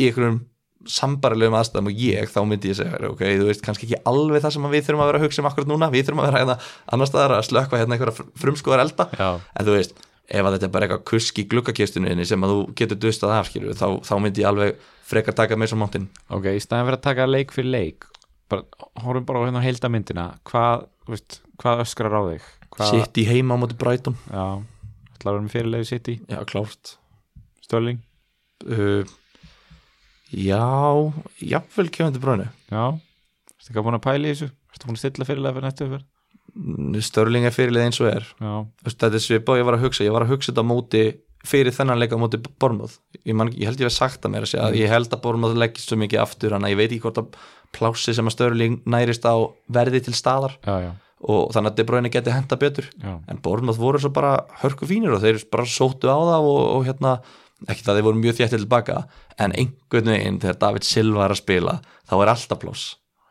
í einhverjum sambarilegum aðstæðum og ég þá myndi ég segja, ok, þú veist, kannski ekki alveg það sem að við þurfum að vera að hugsa um akkurat núna við þurfum að vera hérna annar staðar að slökva hérna einhverja frumskóðar elda,
já,
en þú veist ef að þetta er bara eitthvað kusk í gluggakistuninni sem að þú getur dustað af, skilju, þá, þá myndi ég alveg frekar taka Mason Mountain
ok, í staðan fyrir að taka leik fyrir leik bara, horfum bara á hérna heildamyndina hvað, þú veist, hvað öskrar á þig hvað,
sitt í heima á móti Brighton
já, ætla að vera með fyrirlegu sitt í
já, klárt
Störling,
uh, já, jafnvel kefandi bráinu
já Ertu eitthvað búin að pæla í þessu? Ertu búin að stilla fyrirlega fyrir næstu fyrir?
Störling er fyrirlið eins og er
Já,
Þú veist, þetta er svipað og ég var að hugsa ég var að hugsa þetta á móti fyrir þennan leika á móti Bormóð ég, man, ég held ég hef sagt það mér að segja að ég held að Bormóð leggist svo mikið aftur þannig að ég veit ekki hvort að plási sem að Störling nærist á verði til staðar
já, já,
og þannig að De Bruyne geti henta betur
já.
en Bormóð voru svo bara hörku fínir og þeir bara sóttu á það og, og hérna ekki það þeir voru mjög þjættið tilbaka en einhvern veginn þegar David Silva er að spila þá er alltaf plás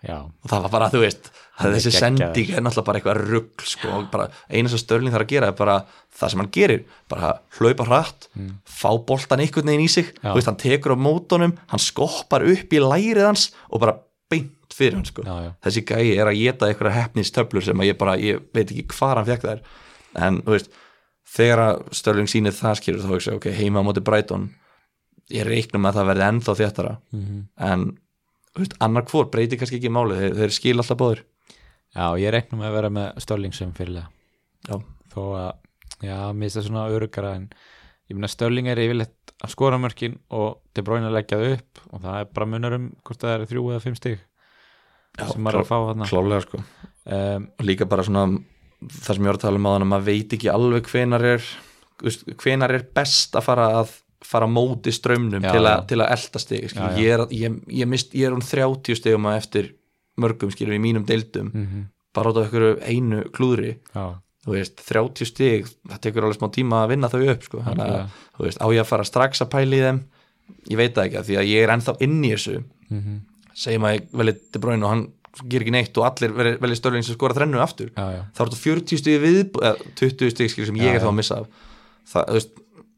já.
og það var bara, þú veist,
er
þessi
geggjaður.
sending er náttúrulega bara eitthvað rugg sko, og bara, eina sem Störling þarf að gera er bara það sem hann gerir, bara hlaupa hratt fá boltan einhvern veginn í sig
Mm. Já.
þú veist, hann tekur á mótunum, hann skoppar upp í lærið hans og bara beint fyrir hann, sko,
Já, já.
þessi gæi er að geta einhverja hefnistöflur sem að ég bara ég veit ekki hvar hann fekk þær en, þú veist, þegar að Störling sýnir það skilur þá, hugsa ég, ok, heima á móti Brighton ég reiknum að það verði ennþá þéttara en þú veist, annar hvor breytir kannski ekki máli þeir, þeir skil alltaf báður
já, ég reiknum að vera með Störling sem fyrirlega
já,
þó að, já, mér finnst það svona örugara en ég meina Störling er yfirleitt að skora mörkin og De Bruyne að leggja þau upp og það er bara munar um hvort það er þrjú eða fimm stig
Já,
sem maður er að fá þarna
klálega sko
um,
og líka bara svona það sem ég var að tala um á þannig að maður veit ekki alveg hvenar er þú veist, hvenar er best að fara að fara á móti strömmnum
Já,
til, að-
já.
til að elda stig skilur.
Já, já.
ég er, ég, ég, mist, ég er um 30 stigum á eftir mörgum skilur í mínum deildum
mm
bara út af einhverju einu klúðri
Já,
þú veist, 30 stig, það tekur alveg smá tíma að vinna þau upp sko. þannig
Algjörlega.
að, þú veist, á ég að fara strax að pæla í þeim ég veit það ekki, af því að ég er ennþá inn í þessu
mm -hmm.
segjum að ég velja De Bruyne og hann gerir ekki neitt og allir veli- velja Störling sem skora þrennu aftur
já, já,
þá er þetta 40 stig við 20 stig skil sem
Já,
ég er þá
já.
að missa af það, þú veist,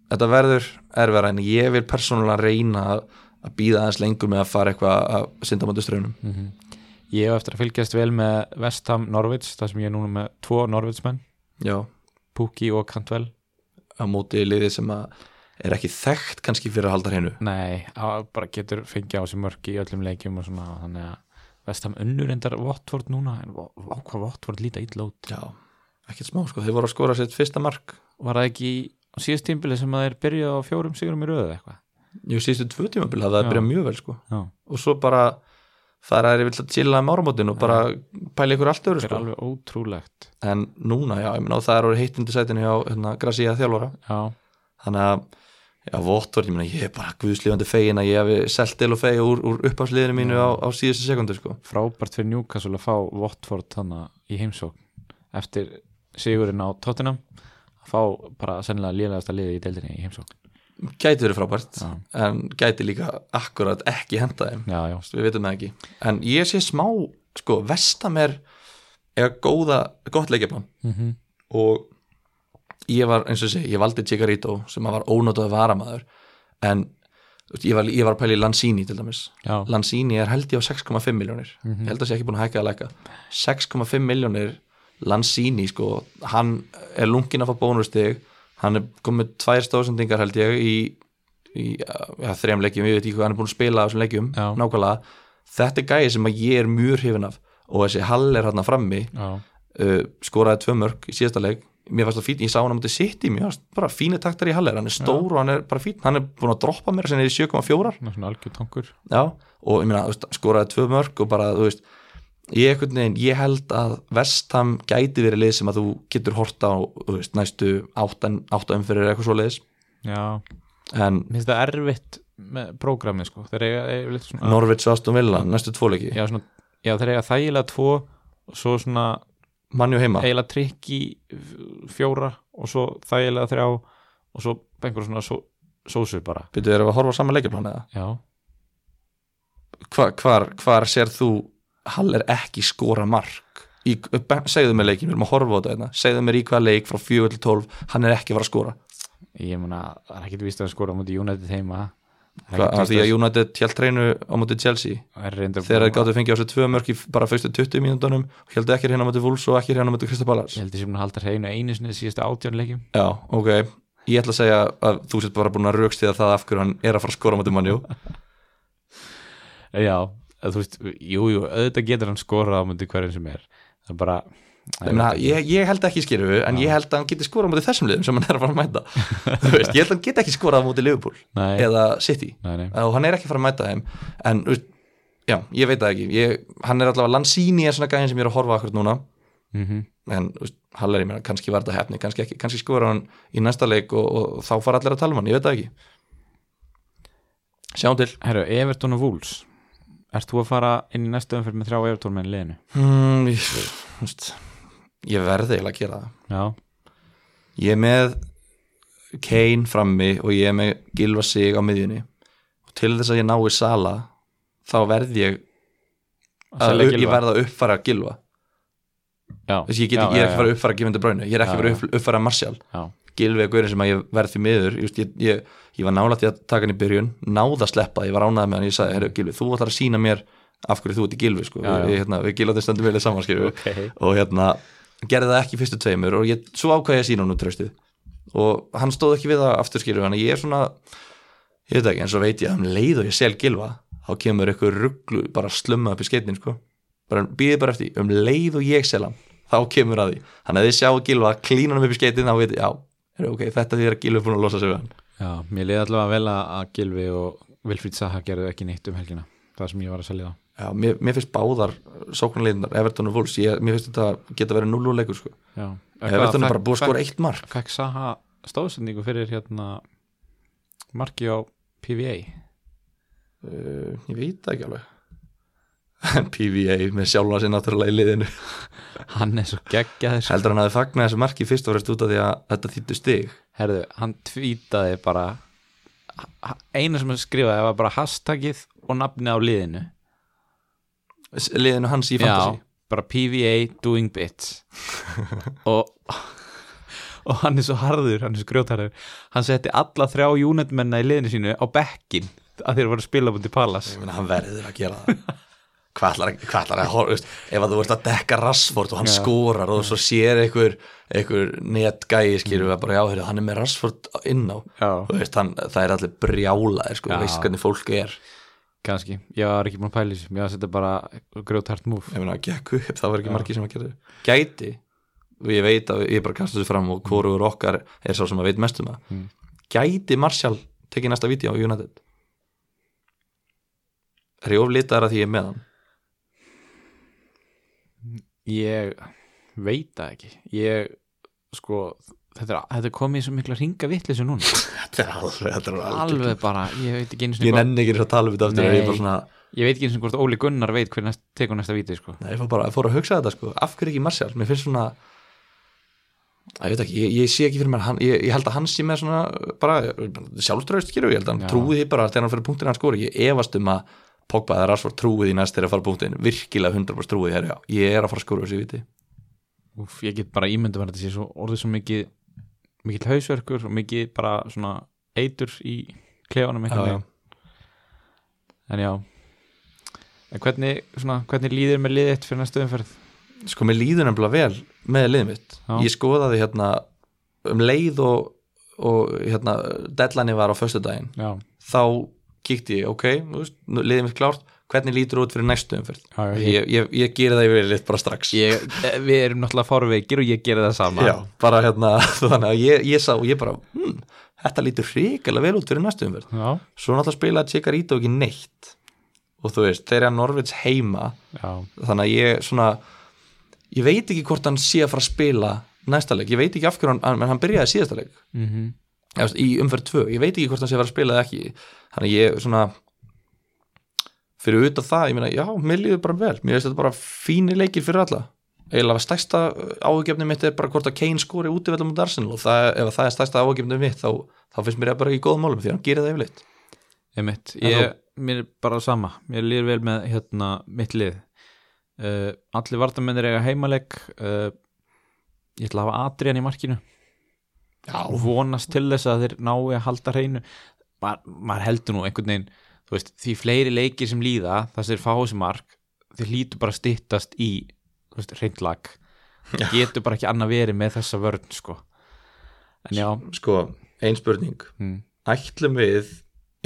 þetta verður erfæra en ég vil persónulega reyna að, að býða aðeins lengur með að fara eitthvað að synda möndu ströunum
mm Ég hef eftir að fylgjast vel með Vestham Norvits, þar sem ég er núna með tvo Norvitsmenn,
já,
Pukki og Cantwell
á móti liði sem að er ekki þekkt kannski fyrir að halda hreinu
Nei, á, bara getur fengið á sig mörk í öllum leikjum og svona þannig að Vestham unnur endar Votvort núna en vá, vá, hvað Votvort líta illa út
já, ekkert smá sko, þeir voru að skora sitt fyrsta mark
var það ekki á síðast tímbili sem að þeir byrjaði á fjórum sigurum í röðu eða eitthvað
jú, síðustu tvö tímabil hafði það
Já.
byrjað mjög vel sko
Já,
og svo bara fara þeir vill að chilla um áramótin og bara pæla ykkur allt öðru
það er
sko.
alveg ótrúlegt
en núna, já, ég meina og það er orðið heitt undir sætinu hjá hérna, Gracia þjálfara
Já,
þannig að, já, Votvort, ég meina ég er bara guðslífandi fegin að ég hafi selt til og fegi úr, úr uppáðsliðinu mínu á, á síðustu sekundu sko.
frábært fyrir Newcastle að fá Watford hana í heimsókn eftir sigurinn á Tottenham að fá bara sennilega lélegasta liði í deildinni í heimsókn
gæti verið frábært
Já,
en gæti líka akkurat ekki henda þeim
já, já,
við veitum það ekki, en ég sé smá sko, vestam er eða góða, gott leikjaplan
Mhm.
og ég var, eins og sé, ég valdi Chigarito sem að var ónótaði varamaður en þú veist, ég var, ég var að pæla í Lanzini til dæmis,
já.
Lanzini er held ég á 6,5 miljónir, ég held að sé ekki búin að hækka að lækka 6,5 miljónir Lanzini, sko, hann er lungin að fá bónustig hann er komið tvær stóðsendingar held ég í, í ja, þrejum leikjum, ég veit ekki hvað hann er búin að spila á þessum leikjum,
Já.
nákvæmlega þetta er gæði sem að ég er mjög hrifin af og þessi Hall er hann frammi
já.
uh, skoraði tvö mörg í síðasta leik mér fannst það fín, ég sá hann á mútið sitt í mér fannst bara fíni taktar í Haller, hann er stór og hann er bara fín, hann er búin að droppa mér sem er í 7,4
Svona algjör tankur
já, og ég meina, þú veist, skoraði tvö mörg og bara, þú veist ég, einhvern veginn, ég held að Vestham gæti verið lið sem að þú getur horta á þú veist, næstu áttan, áttan fyrir eitthvað svo liðis
Já,
en
mér finnst það erfitt með prógramið sko þeir eiga, eiga litt svona,
Norvits og Aston Villa næstu tvoleiki,
já, svona já, þeir eiga þægilega tvo og svo svona
mannjú heima
eiginlega trikki fjóra og svo þægilega þrjá og svo einhver svona só, sósu bara
byrjuðu erum við að horfa á sama leikjaplan eða
Já,
hvar, hvar, hvar sér þú Hall er ekki skora mark í, be- segðu mér leikin, við erum að horfa á þetta hérna. segðu mér í hvaða leik frá 4 til 12 hann er ekki að fara að skora
ég meina, það er ekkert víst að skora á múti United heima Það er
Hva,
ekkert
af
víst
því að
að-
United hjælt treinu á móti Chelsea
það er reyndar-
þegar þeir gáttu fengið á sig tvö mörk í bara fyrstu 20 mínúndunum og hjældu ekki hérna á móti Wolves og ekki hérna á móti Kristapalas
Ég held að sem hún haldar hreinu einu sinni síðasta átjónleikjum
Já, ok, ég ætla að segja að þú sétt bara búin að raukstiða það af hverju hann er að fara að skora á móti mannjú
Já, að þú veist, jú, jú, auðvitað getur hann skorað á múti hverjum sem er Það er bara
ég, ég held ekki skýrðu, en ég held að hann geti skora á móti þessum liðum sem hann er að fara að mæta Þú veist, ég held að hann geti ekki skorað á móti Liverpool
Nei,
eða City
nei, nei
Eh, og hann er ekki að fara að mæta þeim en, þú veist, já, ég veit það ekki ég, hann er allavega Lanzini er svona gæðin sem ég er að horfa akkur núna
mm
en þú veist, Haller, ég meina, kannski var þetta hefni kannski, ekki, kannski skora hann í næsta leik og, og þá fara allir að tala um hann, ég veit það ekki sjáum til
Herru, Everton og Wolves Ert þú að fara inn í næstu umferð með þrjá Everton menn liðinu?
hmm, ég, þú veist, ég verði eiginlega að gera það
Já,
ég er með Kane frammi og ég er með Gilva sig á miðjunni og til þess að ég nái Sala þá verð ég
Selja
að, ég
Gylfa.
verð að uppfara Gilva
já,
Þess, ég, get,
já,
ég
já,
er ekki fara að uppfara Givin De Bruyne ég er
Já,
ekki
já.
fara að upp- uppfara Martial
já.
Gilvi að Guðin sem að ég verð því miður just, ég, ég, ég var nálægt í að taka hann í byrjun náða að sleppa, ég var ánægð með hann ég sagði, herru Gilvi, þú ætlar að sína mér af hverju þú ert í Gilvi sko.
Já, já.
Ég, hérna, við Gilvi stöndum vel í samanskjöfu
Okay.
og hérna, gerði það ekki í fyrstu tveimur og ég, svo ákvæði ég að sína hann út tröstið og hann stóð ekki við það aftur skilur hann ég er svona, ég veit ekki en svo veit ég að um leið og ég sel Gilva þá kemur eitthvað rugglu, bara slumma upp í skeitnin sko, bara býði bara eftir því, um leið og ég sel hann, þá kemur að því þannig að þið sjá Gilva, klína hann upp í skeitin þá veit ég, já, er, ok, þetta því er að Gilva er búin að losa sig við hann,
já, mér liði allavega vel að að Gilvi og Vilfríð Saha gerðu ekki neitt um helgina Það sem ég var að selja þá
já, mér, mér finnst báðar sóknarleinar, Everton og Wolves ég, mér finnst þetta geta verið núluleikur sko.
já.
Everton er bara búið að skora eitt mark
Fekk Saha stóðsendingu fyrir hérna marki á PVA
Uh, ég veit það ekki alveg PVA með sjálfa sér náttúrulega í liðinu
Hann er svo geggjaður sko.
heldur hann hafi fagnað þessu marki fyrst og fremst út af því að þetta þýttu stig
Herðu, hann tvítaði bara ha- eina sem hann skrifaði var bara hashtagið og nafni á liðinu
S- liðinu hans í fantasy
bara PVA doing bits og og hann er svo harður, hann er svo grjótharður hann setti alla þrjá júnetmenna í liðinu sínu á bekkin að þeir voru að spila búin til Pallas
Ég meina, hann verður að gera það hvað ætlar, hvað ætlar að horfa veist, ef að þú ert að dekka Rassford og hann
Já.
skorar og svo sér einhver, einhver netgæi skilur við að bara já, heyrðu, hann er með Rassford inn á
Já.
Þú veist, hann, það er allir brjálaðir sko,
Já.
veist hvernig fólk er
kannski, ég var ekki búin að pæla þessu ég var að setja bara grjóthart múf
ég meina, gekk upp, það var ekki margir sem að gera það. gæti, og ég veit að ég bara kasta þessu fram og hvorugur okkar er sá sem að veit mest um það
Mm.
gæti Marshall tekið næsta vídeo á United er ég oflitaðar að því ég er með hann
ég veit það ekki ég, sko þetta, er- þetta er komið í svo mikla ringa vitleysu núna
þetta er alveg, þetta er
alveg bara, ég veit ekki einu
ég
sinni hvort,
nenni ekki eins og að tala um þetta aftur
Nei.
ég, er bara svona,
ég veit ekki einu sinni hvort Óli Gunnar veit hver næst, tekur næsta víti sko.
nei, ég fór bara ég fór að hugsa þetta sko. af hverju ekki Marshall, mér finnst svona Æ, ég veit ekki, ég, ég sé ekki fyrir mér hann, ég, ég held að hann sé með svona uh, bara sjálfströðst gerur, ég held að hann
Já.
trúið því bara þegar hann fyrir punktin hann skori, ég efast um að Pogba eða Rashford trúið því næst þegar að fara punktin virkilega 100% trúið því, já, ég er að fara að skora þessi viti,
Úf, ég get bara ímyndu verið að þetta sé svo orðið svo mikið mikið hausverkur og mikið bara svona eitur í klefanum
já,
einhvern
já.
veginn. en já en hvernig, svona, hvernig líður með liðið þitt fyrir næstu umferð
sko mér líður nefnilega vel með liðið mitt,
Já.
ég skoðaði hérna um leið og, og hérna, deadline var á föstudaginn,
já,
þá kíkti ég, ok, þú veist, nú- liðið mitt klárt hvernig lítur út fyrir næstu umferð
já, ég,
ég, ég, ég geri það yfirleitt bara strax
ég, eh, við erum náttúrulega forveikir og ég gerði það sama
Já, bara hérna, þannig að ég, ég sá, ég bara, hm, þetta lítur hrikalega vel út fyrir næstu umverð.
Já.
Svo náttúrulega spilaði Chikarito ekki neitt og þú veist, þeir eru að Norvits heima
já,
þannig að ég svona ég veit ekki hvort hann sé að fara að spila næsta leik, ég veit ekki af hverju hann, hann- en hann byrjaði síðasta leik
mm
Já, veist, í umferð 2, ég veit ekki hvort hann sé að vera að spila eða ekki þannig að ég svona fyrir utan það, ég meina já, mér líður bara vel, mér veist þetta bara fínir leikir fyrir alla, eiginlega stærsta áhugjefni mitt er bara hvort að Kane skori útivellum út Arsenal og það, ef það er stærsta áhugjefni mitt þá, þá finnst mér ég bara ekki í góðum málum því að hann gerir það yfirleitt
einmitt
En
ég, mér er bara sama, mér líður vel með hérna mitt lið uh, allir vardamennir eiga heimaleg uh, ég ætla að hafa Adrian í markinu og
já,
vonast til þess að þeir nái að halda hreinu Ma, maður heldur nú einhvern veginn þú veist, því fleiri leikir sem líða þess að þeir fá þessi mark þeir lítur bara að styttast í þú veist, hreint lag
Já.
það getur bara ekki annað verið með þessa vörn sko. en já
sko, ein spurning
mm,
ætlum við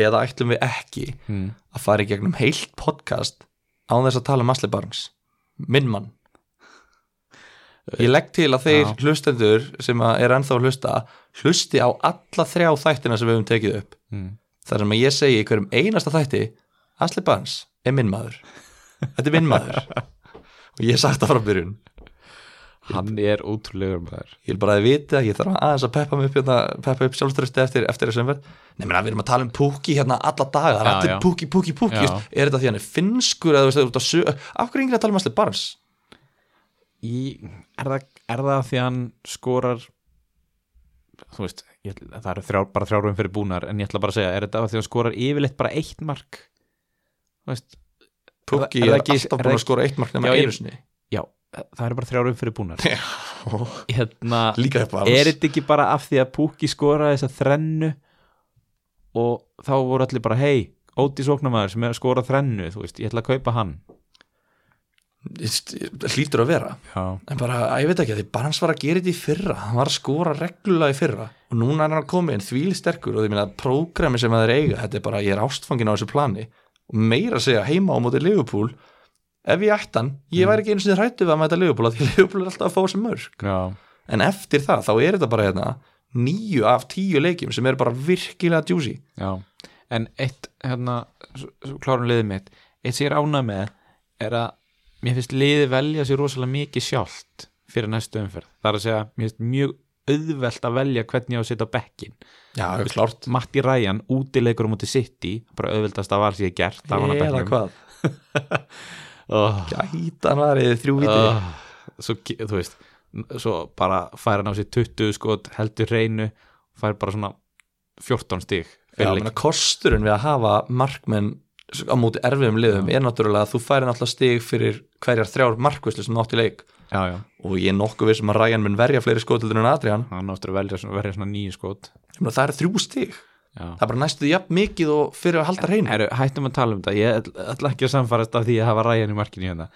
eða ætlum við ekki
mm.
að fara í gegnum heilt podcast án þess að tala um Asli Barnes minn mann ég legg til að þeir
Já.
hlustendur sem að er ennþá að hlusta hlusti á alla þrjá þættina sem við höfum tekið upp
Mm.
þar sem að ég segi í hverjum einasta þætti Asli Barnes er minn maður þetta er minn maður og ég hef sagt það frá byrjun
hann er ótrúlegur maður
ég vil bara að þið viti að ég þarf aðeins að peppa mig upp hérna, peppa upp sjálfströsti eftir, eftir þessum verð nefnir að við erum að tala um púki hérna alla daga, það er
Já,
allir
já.
púki, púki, púki
Já.
er þetta því hann er finnskur eða þú veist, þú ert að sög, af hverju er yngri að tala um Asli Barnes
í, er, það, er það því hann skorar þú veist, ég, það eru þrjár, bara þrjárum fyrir búnar en ég ætla bara að segja, er þetta af því hann skorar yfirleitt bara eitt mark þú veist,
púki
er
er,
það ekki- er það
alltaf búin að
ekki-
skora eitt mark
Já,
nema
ég-
einu sinni
já, það eru bara þrjárum fyrir búnar hérna,
líka upp að
er þetta ekki bara af því að Pukki skoraði þessa þrennu og þá voru allir bara hei, Ótis Óknamaður sem er að skora þrennu, þú veist, ég ætla að kaupa hann
Alls hlýtur að vera
já,
en bara, að ég veit ekki, að því Barnes var að gera þetta í fyrra hann var að skora reglulega í fyrra og núna er hann komið en þvíli sterkur og því minna, prógrami sem að þeir eiga, þetta er bara ég er ástfangin á þessu plani og meira að segja heima á móti Liverpool ef ég ætti hann,
Mm.
ég væri ekki einu sinni hrættu við að mæta Liverpool, af því Liverpool er alltaf að fá sem mörg
já,
en eftir það, þá er þetta bara hérna níu af tíu leikjum sem eru bara virkilega djúsi
já en eitt, hérna, s- s- klárum liðið mitt eitt sem ég er ánað með er að mér finnst liðið velja sér rosalega mikið sjálft fyrir næstu umferð það er að segja, mér finnst mjög auðvelt að velja hvernig ég á að setja á bekkin
Já, klárt
Matti Ræjan útilegur á móti City bara auðveldast að var sér gert af hann á
Eða
bekknum.
hvað,
Oh.
gætan var eða þrjú víti
Ah, svo, ge- þú veist svo bara fær hann á sér 20 skot heldur reynu, fær bara svona 14 stig
Já,
fyrir
menna,
leik.
kosturinn við að hafa markmenn á móti erfiðum liðum er náttúrulega að þú færi náttúrulega stig fyrir hverjar þrjár markvislu sem nátt í leik
já, já,
og ég er nokkuð við sem að Ryan mun verja fleiri skotildur en Adrian
hann áttur að velja, svona- verja svona nýju skot
Ég meina, það er þrjú stig,
já.
það er bara næstuð jafn mikið og fyrir að halda hreinu
Heru, hættum að tala um þetta, ég ætl- ætla ekki að samfarast af því að hafa Ryan í markinu hérna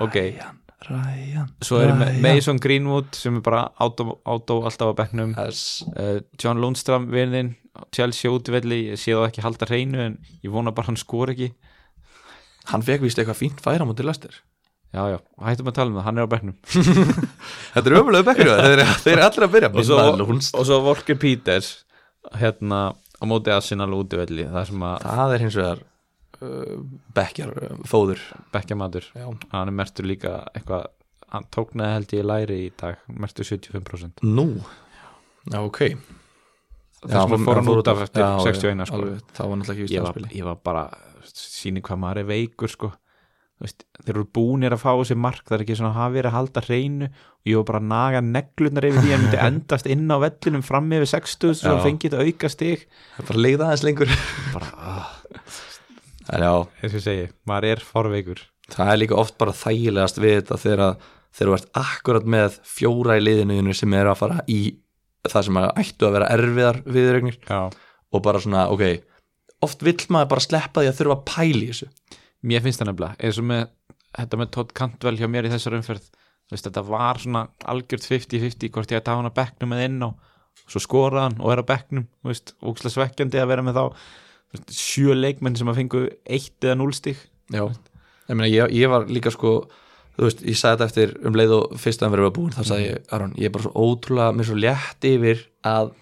ok,
Ryan, Ryan,
svo er Ma-
Ryan.
Mason Greenwood sem er bara átó, átó alltaf á bekknum
Það er s-
uh, John Lundström vinnin, Chelsea útvelli ég sé það ekki halda hreinu en ég vona bara hann skor ekki
Hann fekk víst eitthvað fínt færa móti lestir
já, já, hættum að tala um það, hann er á bekknum
Þetta er ömulega bekkur, þeir, eru- þeir eru allir að byrja
og svo,
Maður lúnst.
og svo Volker Peters hérna á móti Arsenal útivelli það sem að
Það er hins vegar uh, bekkjar uh, fóður
bekkja matur
Já.
hann er mertur líka eitthvað hann tóknaði held ég læri í dag mertur 75%
Nú, já ok
þess að fór hann út af eftir
já, já,
61 sko.
alveg, það var náttúrulega ekki víst
ég,
að
var,
spila
ég var bara síni hvað maður er veikur sko Þú Veist, þeir eru búnir að fá þessi mark það er ekki svona að hafa verið að halda hreinu og ég var bara að naga neglunar yfir því hann myndi endast inn á vellinum fram yfir 60 svo
Já.
hann fengið þetta auka stig
bara leiða aðeins lengur
bara, ah,
en já,
eins og ég segi, maður er forveikur
það er líka oft bara þægilegast við þetta þegar að- þegar þú ert akkurat með fjóra í liðinu sem eru að fara í það sem að ættu að vera erfiðar viðregnir
já
og bara svona, ok oft vill maður bara sleppa því að þurfa að pæli þessu
Mér finnst það nefnilega, eins og með þetta með Todd Cantwell hjá mér í þessar umferð þú veist, þetta var svona algjört 50-50 hvort ég að tafa hann á bekknum eða inn á svo skora hann og er á bekknum þú veist, óksla svekkjandi að vera með þá þú veist, sjö leikmenn sem að fengu eitt eða núlstig
já, ég meina, ég, ég var líka sko þú veist, ég sagði þetta eftir um
Mhm.
leið og fyrst að hann verið var búin, þá sagði ég, Aron, ég er bara svo ótrúlega, mér er svo létt yfir að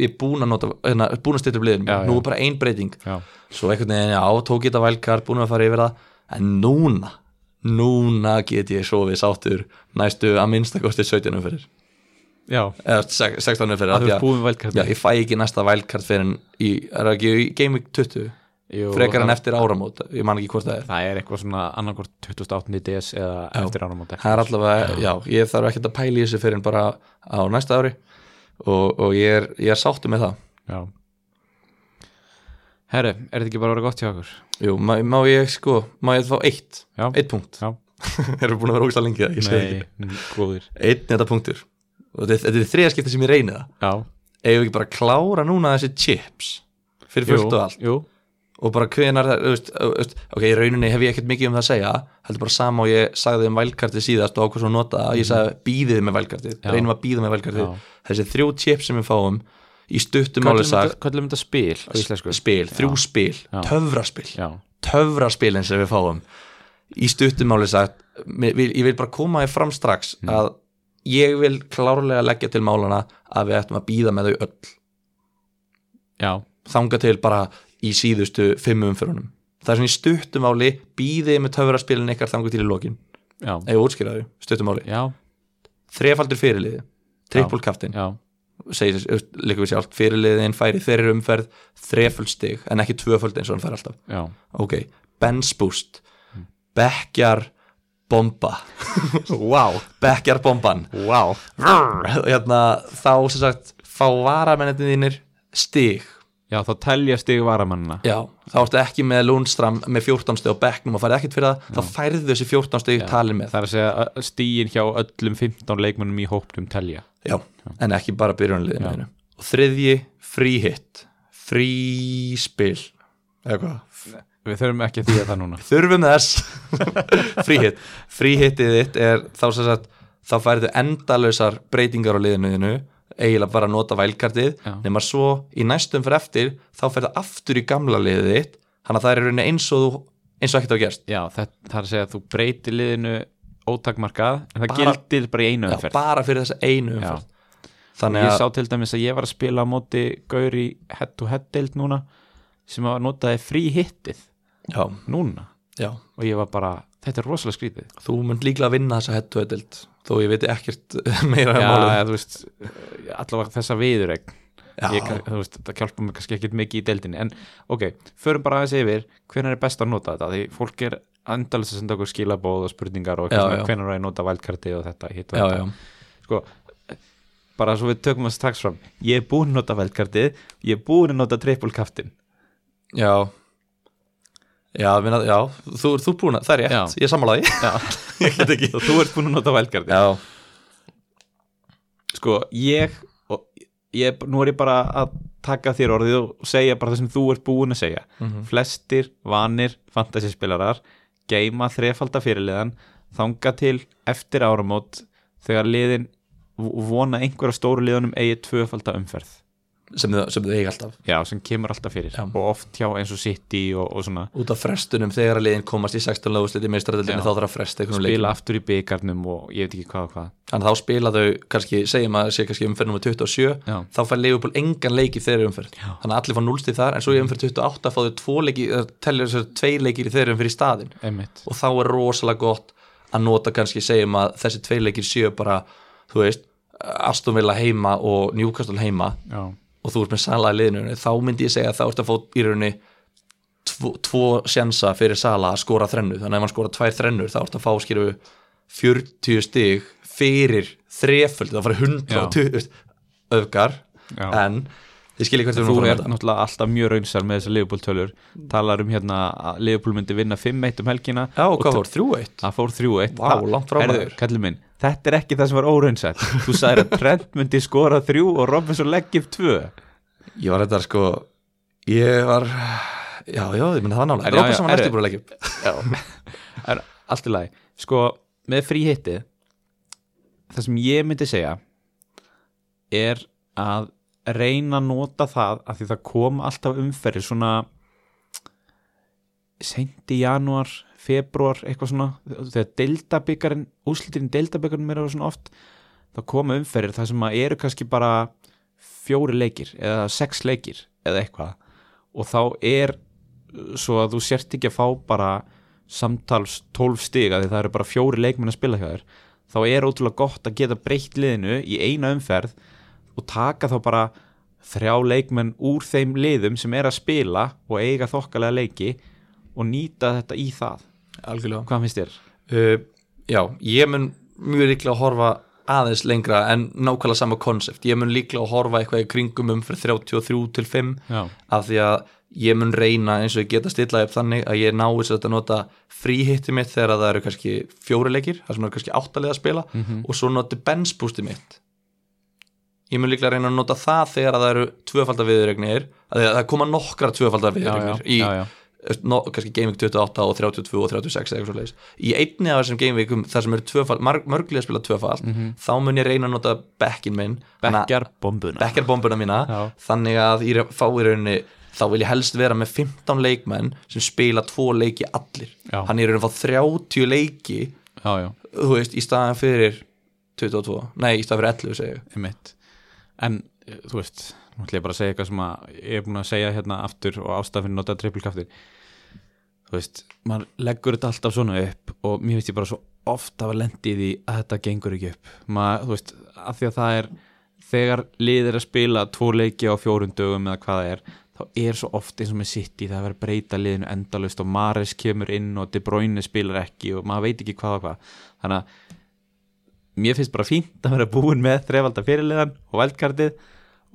ég er búin að nota, hérna, búin að styrta upp liðin
Já, já.
nú er bara ein breyting
já,
svo einhvern veginn, já, tók ég þetta vælkar búin að fara yfir það, en núna núna get ég sofið sáttur næstu að minnstakosti 17 umferðir
já
eða se- 16 umferðir
að þú
af því
ert
að-
búin velkast
já, ég fæ ekki næsta vælkart fyrir en í, er það ekki í Game Week 20 frekar en eftir áramót, ég man ekki hvort það er
það er eitthvað svona annarkort 2008 DS eða
Já.
eftir áramóta
það er allavega, já, ég þarf ekkert að pæla í þessu fyrir en bara á næsta ári og, og ég er, ég er sáttu með það
já herru, er þetta ekki bara að vera gott hjá okkur
Jú, má, má ég sko, má ég fá eitt
já,
eitt punkt,
Já.
erum við búin að vera ógislega lengi það, ég segi
nei,
ekki
mm, góðir
einn þetta punktur, og þetta, þetta er þriða skipti sem ég reyni það,
já,
ef við ekki bara klára núna þessi chips fyrir fullt og allt
jú,
og bara hvenar það, þú veist, þú veist, ok, í rauninni hef ég ekkert mikið um það að segja heldur bara sama og ég sagði um vælkartið síðast og ákvæmst að nota það, ég sagði býðið með vælkartið
Já.
reynum að býða með vælkartið
Já.
þessi þrjú chips sem við fáum í stuttum
Köllum
máli sagt,
þetta- köllum þetta spil á íslensku
spil, þrjú spil
Já.
töfraspil,
já,
töfraspilin sem við fáum í stuttum máli sagt mér- vil- ég vil bara koma þér fram strax
Mm.
að ég vil klárlega leggja til málana að við ættum að býða með þau öll
já,
þanga til bara í síðustu fimm umfyrunum. Það er svona í stuttumáli býðið með töfraspilin ykkar þanga til í lokin
já
eða útskýraðu, stuttumáli
já,
þrefaldur fyrirliði, triple captain
já,
segir líka við sjálft, fyrirliðin færi þeirri umferð, þreföld stig en ekki tvöföld eins og hann fær alltaf
já
ok, bench boost bekkjar bomba
wow,
bekkjar bomban
wow
hérna, þá sem sagt fá varamennetin þínir stig
já, þá telja stig varamannina
Já, þá ertu ekki með Lundstram með 14 steg á bekknum og færði ekkert fyrir það þá færðu þessi 14 steg talið með
það er að segja að stíin hjá öllum 15 leikmönnum í hóptum telja
Já, en ekki bara
Já.
byrjunarliðinu og þriðji, frí hitt frí spil eða hvað?
við þurfum ekki að þýja það núna
Þurfum þess frí hitt, frí hittið þitt er þá sem sagt, þá færðu endalausar breytingar á liðinu þínu, eiginlega bara að nota vælkartið,
Já.
nema svo í næstum fyrir eftir, þá færðu aftur í gamla liðið þitt, þannig að það er í rauninni eins og þú, eins og ekkert á gerst
já, það, það er að segja að þú breytir liðinu ótakmarkað, en það
Bara-
gildir bara í einu
Já,
umferð
bara fyrir þessa einu umferð þannig
ég
að,
sá til dæmis að ég var að spila á móti gaur í head to head deild núna sem að notaði frí hittið
já,
núna
já,
og ég var bara, þetta er rosalega skrítið
þú munt líklega vinna þessa hettuðild þó ég veit ekkert meira um
já,
málið
eða, þú veist, allavega þessa viðuregn
Já.
ég, kann- þú veist, það hjálpa mig kannski ekkit mikið í deildinni en ok, förum bara aðeins yfir hvenær er best að nota þetta, því fólk er andalins að senda okkur skilabóð og spurningar og
Já,
já,
já.
hvenær er að nota valdkarti og þetta, hitt og
já,
þetta
já,
sko, bara svo við tökum að strax fram ég er búinn að nota valdkartið ég er búinn að nota triple kaftin
já já, minna, já þú, þú er búin að, það er rétt,
Já.
ég sammála því ég get ekki
og þú ert búinn að nota valdkartið
já,
sko, ég, og, ég nú er ég bara að taka þér orðið og segja bara það sem þú ert búin að segja flestir vanir fantasyspilarar geima þrefalda fyrirliðan þanga til eftir áramót þegar liðin v- vona einhverja stóru liðunum eigi tvöfalda umferð
sem þau, sem þau eiga alltaf
já, sem kemur alltaf fyrir
Já.
og oft hjá eins og City og, og svona
út af frestunum þegar að liðin komast í 16 lögustið í meistaradildinu
Já.
þá þarf að fresta einhvern leik
spila aftur í byggarnum og ég veit ekki hvað og hvað
þannig að þá spila þau, kannski, segjum að það sé kannski umferð nummer 27
Já.
þá fær Leifupól engan leik í þeirri umferð þannig að allir fá núlstíð þar en svo í umferð 28 fá þau tvo leiki, eða telja þessar tvei leikir í þeirri umferð í staðin
einmitt,
og þá er rosalega gott að nota kannski segjum að þessi tvei leikir séu bara, þú veist Aston Villa heima og Newcastle heima
já,
og þú ert með Sala í liðinu þá myndi ég segja að þá ert að fá í rauninni tvo, tvo sjensa fyrir Sala að skora þrennu, þannig að ef hann skora tvær þrennur þá ert að fá skilju 40 stig fyrir þreföld þá farið 120 öfgar
já.
en þið skiljið hvert
þú
við erum að
er
fara með
náttúrulega alltaf mjög raunsar með þessar Liverpool tölur talar um hérna að Liverpool myndi vinna 5-1 um helgina
þetta já og hvað fór, 3-1
það fór 3-1
Vá,
Það-
langt frá
Heyrðu,
maður.
kallinn minn, þetta er ekki það sem var óraunsætt þú sagðir að Trent myndi skora 3 og Robinson leggjum 2
ég var þetta sko ég var, já já ég myndi það var
En
nálega
já,
Rópa
já,
saman
er-
eftir búin að leggja upp
en allt í lagi sko, með fríhitti það sem ég myndi segja er að reyna að nota það að því það kom alltaf umferði svona seinti janúar, februar eitthvað svona, þegar deildabyggarinn úslitirinn deildabyggarinn mér eru svona oft þá koma umferðir þar sem að eru kannski bara fjóri leikir eða sex leikir eða eitthvað og þá er uh, svo að þú sért ekki að fá bara samtals 12 stig að því það eru bara fjóri leikmenn að spila hjá þér þá er ótrúlega gott að geta breytt liðinu í eina umferð og taka þá bara þrjá leikmenn úr þeim liðum sem er að spila og eiga þokkalega leiki og nýta þetta í það
algjörlega
hvað finnst þér?
uh, Já, ég mun mjög líklega að horfa aðeins lengra en nákvæmlega sama konsept ég mun líklega að horfa eitthvað í kringum um fyrir 33 til 5
Já.
af því að ég mun reyna eins og ég geta stilla upp þannig að ég náu sér að nota fríhitti mitt þegar það eru kannski fjóri leikir, það sem eru kannski áttalega að spila
Mhm.
og svo noti bensbústi mitt ég mun líklega að reyna að nota það þegar það eru tvöfaldar viðregnir að það koma nokkra tvöfaldar viðregnir í
já, já.
no, kannski Game Week 28 og 32 og 36 eða eitthvað svoleiðis. Í einni af þessum Game Weekum þar sem eru tvöfald, marg, mörglið að spila tvöfald
Mhm.
þá mun ég reyna að nota bekkin minn þannig að-
Bekkjar bombuna
bekkjarbombuna mína
Já.
þannig að ég fái rauninni þá vil ég helst vera með 15 leikmenn sem spila tvo leiki allir
Já.
hann er rauninni að fá 30 leiki
já, já,
þú veist, í staðan fyrir 22, nei, í staðan fyrir 11 segja ég.
einmitt en eh, þú veist, nú ætlum ég bara að segja eitthvað sem að ég er búin að segja hérna aftur og ástafinn nota trippulkaftir þú veist, maður leggur þetta alltaf svona upp og mér finnst ég bara svo oft hafa lendið í því að þetta gengur ekki upp maður, þú veist, af því að það er þegar lið er að spila tvo leiki á fjórum dögum eða hvað það er þá er svo oft eins og með City það er verið að breyta liðinu endalaust og Mares kemur inn og De Bruyne spilar ekki og maður veit ekki hvað og hvað þannig að mér finnst bara fínt að vera búin með þrefalda fyrirliðan og vældkartið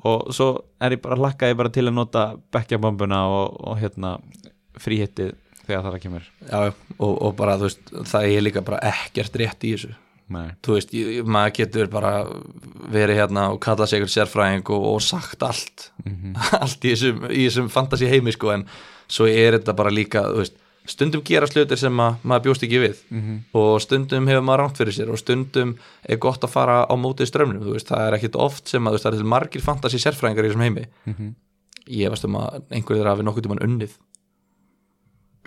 og svo er ég bara lakkaði bara til að nota bekkjabombuna og, og hérna fríhittið þegar það kemur
Já, og, og bara, þú veist, það er líka bara ekkert rétt í þessu
Nei.
þú veist, ég- ég- maður getur bara verið hérna og kallað sig eitthvað sérfræðing og, og sagt allt allt í þessum, í þessum fantasi heimi sko, en svo er þetta bara líka þú veist, stundum gera slutir sem að, maður bjóst ekki við og stundum hefur maður rangt fyrir sér og stundum er gott að fara á mótið strömmnum, þú veist, það er ekkit oft sem að þú veist, það er til margir fantasi sérfræðingar í þessum heimi ég veist um að einhverjir þeirra hafi nokkuð tímann unnið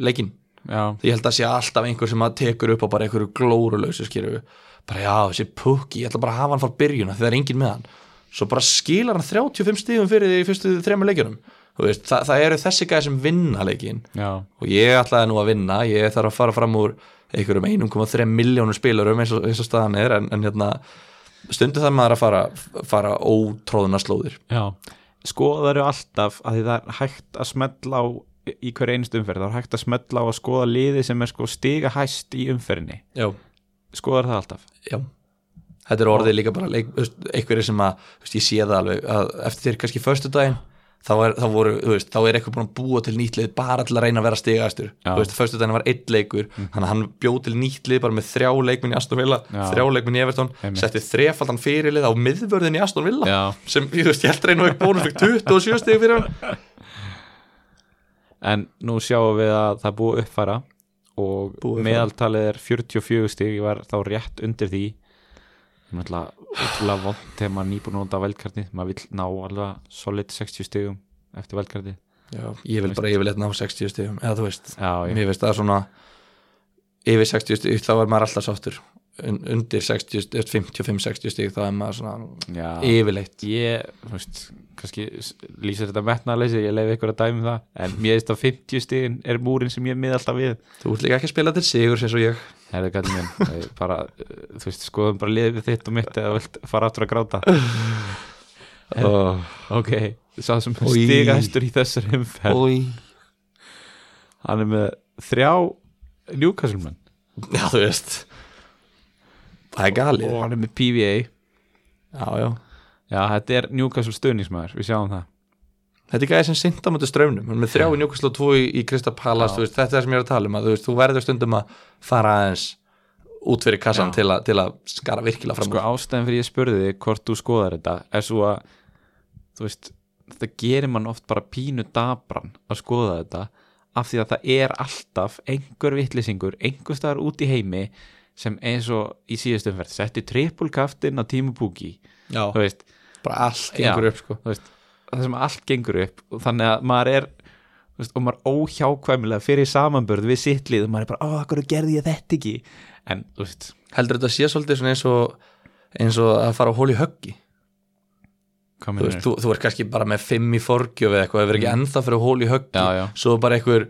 leikinn
Já,
ég held að sé alltaf einhver sem að tekur upp á bara einhverju glórulösu skýru bara já þessi pukki, ég ætla bara að hafa hann frá byrjun af því það er enginn með hann svo bara skilar hann 35 stíðum fyrir því í fyrstu þremur leikjunum Þú veist, það, það eru þessi gæði sem vinna leikin
já,
og ég ætlaði nú að vinna ég þarf að fara fram úr einhverjum 1,3 miljónum spilarum eins og, eins og staðan er en, en hérna stundu þar maður að fara, fara ótróðuna slóðir
já Skoðar alltaf að því það er hægt að smella á í hverju einstu umferð, það er hægt að smella á að skoða liði sem er sko stiga hæst í umferðinni
já
Skoðar það alltaf
Já, þetta er orðið líka bara leik, þú veist, einhverjir sem að, þú veist, ég sé það alveg að eftir kannski föstudaginn þá er, þá voru, þú veist, þá er eitthvað búin að búa til nýtt lið bara til að reyna að vera stigastur
Já. Mhm.
þú veist, föstudaginn var einn leikur þannig að hann bjó til nýtt lið bara með þrjá leikminn í Aston Villa,
Já.
þrjá leikminn í Everton
Einmitt.
setti þrefaldan fyrirlið á miðvörðin í Aston Villa
Já.
sem, ég veist, ég held reyna ekki bónus fyrir 27 stig fyrir hann
En nú sjáum við að það er búið að uppfæra og
Búið að
meðaltalið er 44 stig, ég var þá rétt undir því Það er náttúrulega útrúlega vond þegar maður er nýbúin að nota velkarti maður vill ná alveg solid 60 stigum eftir velkarti
Já, ég vil bara yfirleitt ná 60 stigum eða þú veist,
Já, ég,
mér veist það er svona yfir 60 stík þá er maður alltaf sáttur Un- undir 60 stík, 55-60 stík þá er maður svona
já,
yfirleitt
ég þú veist, kannski s- lýsir þetta metnaðleysi, ég leiði ykkur að dæmi um það, en mér veist að 50 stigin er múrin sem ég miða alltaf við
þú ert líka ekki að spila til sigur sem svo ég
Herðu kallið minn, eh, bara, eh, þú veist, skoðum bara liðið þitt og mitt eða þú vilt fara aftur að gráta
oh.
Ok, sá sem
Oj.
stigahæstur í þessari umferð Hann er með þrjá Newcastle-menn
já þú veist það er galið
og hann er með PVA
já, já.
Já, þetta er Newcastle stuðningsmæður, við sjáum það
þetta er gæði sem synda mútið ströfnum hann er með þrjá í njúkastlu og tvo í, í Krista Palace þú veist, þetta er það sem ég er að tala um að, þú, veist, þú verður stundum að fara aðeins út fyrir kassan til, a, til að skara virkilega fram
Sko
úr.
ástæðan fyrir ég spurði þig hvort þú skoðar þetta er svo að, þú veist þetta gerir mann oft bara pínu dabran að skoða þetta af því að það er alltaf einhver vittlisingur einhver staðar út í heimi sem eins og í síðustu umferð setti trippulkaftin á tímupúki
já,
þú veist,
bara allt
Já.
gengur upp sko.
þú veist, það sem allt gengur upp og þannig að maður er þú veist, og maður óhjákvæmilega fyrir samanbörð við sitt lið og maður er bara, áh, hverju gerði ég þetta ekki en, þú veist,
heldur þetta sé svolítið svona eins og eins og að fara á hól í höggi
hvað
þú,
með
veist, þú, þú er kannski bara með fimm í forgjöf eða eitthvað, það verður ekki ennþá fyrir hól í höggi
Mm. Já, já.
svo er bara einhver,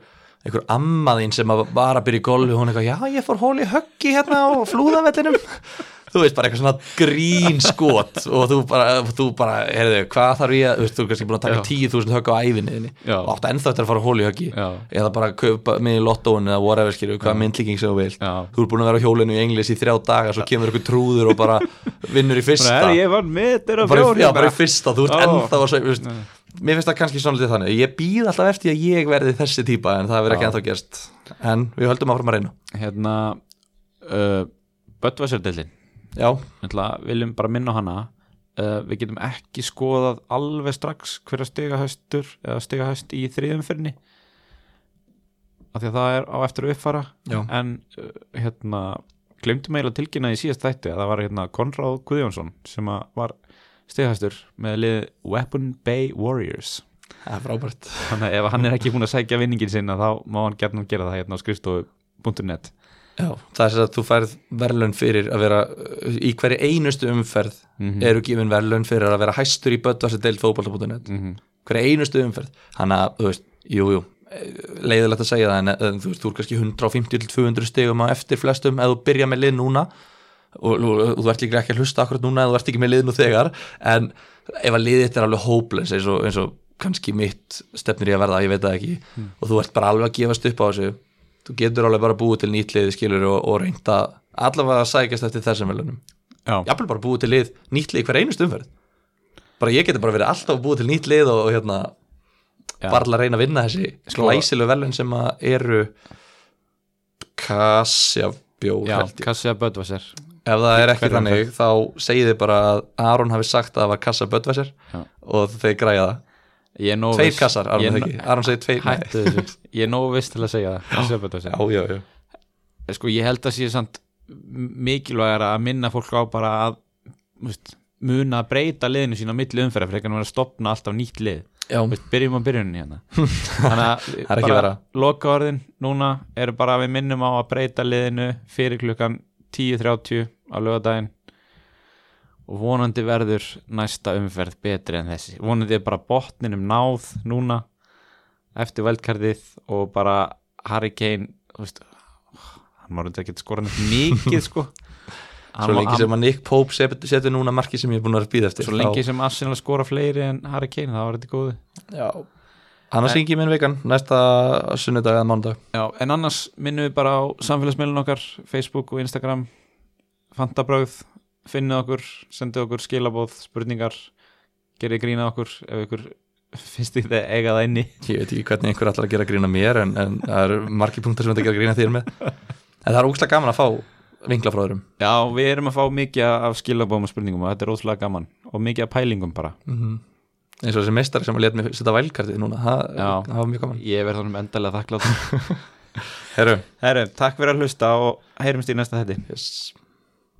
einhver ammaðinn sem að var að byrja í golfi hún eitthvað, já ég fór hól í höggi hérna á flúðavellinum þú veist bara eitthvað svona grín skot og þú bara, þú bara heyrðu, hvað þarf ég að, þú veist, þú er kannski búin að taka
Já.
10.000 högg á æfinni
Já.
og áttu ennþá eftir að fara hól í höggi
Já.
eða bara kaupa mig í lottóun eða whatever skilju, hvaða myndlíking sem þú vilt
Já.
þú er búin að vera á hjólinu í englis í þrjá daga svo kemur ykkur trúður og bara vinnur í fyrsta
Bara, "Herri, ég vann metur og
bara,
fjóri
já, bara í fyrsta, þú ert
Ó.
ennþá að segja veist, mér finnst það kannski svona litið þannig ég býð alltaf eftir að ég verði þessi típa en það verður ekki
Já.
ennþá gerst en við höldum áfram að reyna
hérna uh, Böttvæsardelin
já,
viljum bara minna á hana uh, við getum ekki skoðað alveg strax hverja stigahæstur eða stigahæst í þriðumferni af því að það er á eftir að uppfara
Já.
en uh, hérna glemtum eiginlega að tilkynna í síðast þætti að það var hérna Konráð Guðjónsson sem að var stigahæstur með lið Weapon Bay Warriors
það er frábært
þannig að ef hann er ekki búin að sækja vinningin sinna þá má hann gert gera það hérna á skrifstofu.net
já, það er sem að þú færð verðlun fyrir að vera uh, í hverju einustu umferð eru gefin verðlun fyrir að vera hæstur í böttvarsi deild fótbolta.net
Mhm.
hverju einustu umferð hann að, þú veist, jú, jú eh, leiðilegt að segja það en eh, þú veist, þú er kannski 150-200 stegum á eftir flestum ef þú byrja með lið núna og, og, og þú ert líka ekki að hlusta akkurat núna ef þú ert ekki með lið nú þegar en ef að liðið þetta er alveg hopeless eins og, eins og kannski mitt stefnir í að verða, ég veit það ekki
Hmm.
og þú ert bara alveg að gefast upp á þessu þú getur alveg bara búið til nýtt liðið skilur og, og reynda allavega að sækjast eftir þessum velunum
Já.
jafnvel bara búið til lið, nýtt lið í hver einust umferð bara ég geti bara verið alltaf búið til nýtt lið og, og hérna
Já.
bara að reyna að vinna þessi
Sko-
glæsilegu velun sem að eru kassjabjór
Já,
held ég
Kassja Böttvæsar
ef það er ekki
Hver er
þannig þá segið þið bara að Aron hafi sagt að það var kassa böttvæsir
Já.
og þeir græja það
Ég er nóg
tveir
viss-
kassar, Aron,
ég,
ég, ekki. Aron segir tveir nei.
Hættu þessu Ég er nóg viss til að segja það Kassja Böttvæsar
já, já, já,
Sko ég held að sé samt mikilvægara að minna fólk á bara að þú veist, muna að breyta liðinu sína á milli umferðar frekar en að vera að stopna alltaf nýtt lið Þú
já.
veist, byrjum á byrjunni hérna Þannig að
Það er ekki
bara
verra.
lokaorðin núna eru bara að við minnum á að breyta liðinu fyrir klukkan 10.30 á lögadaginn og vonandi verður næsta umferð betri en þessi vonandi er bara botninum náð núna eftir veldkarðið og bara Harry Kane þú veist, hann má reynda ekki skora neitt mikið sko Hann
svo
má-
lengi
hann-
sem að Nick Pope set- setur núna markið sem ég er búin að vera að býða eftir
svo
þá-
lengi sem Arsenal skora fleiri en Harry Kane það var þetta góði
Já Annars syngi ég minn vikan næsta sunnudag eða mánudag
Já, en annars minnum við bara á samfélagsmiðlun okkar, Facebook og Instagram Fantabröð finnið okkur, sendið okkur skilabóð spurningar, gerið grína okkur ef ykkur finnst þið þið eiga það inni
Ég veit ekki hvernig einhver allar að gera grína mér en, en það eru margir punktar sem þetta gera grína þér með En það er ógslag gaman að fá vingla frá þeirum
Já, við erum að fá mikið af skilabóðum og spurningum og þetta er ótrúlega gaman og mikið af pælingum bara
eins og þessi meistari sem að leta mig setja vælkartið núna það,
Já.
það var mjög gaman
Ég verð þannig endalega þakklátt
Herru
Herru, takk fyrir að hlusta og heyrumst í næsta þetti
yes.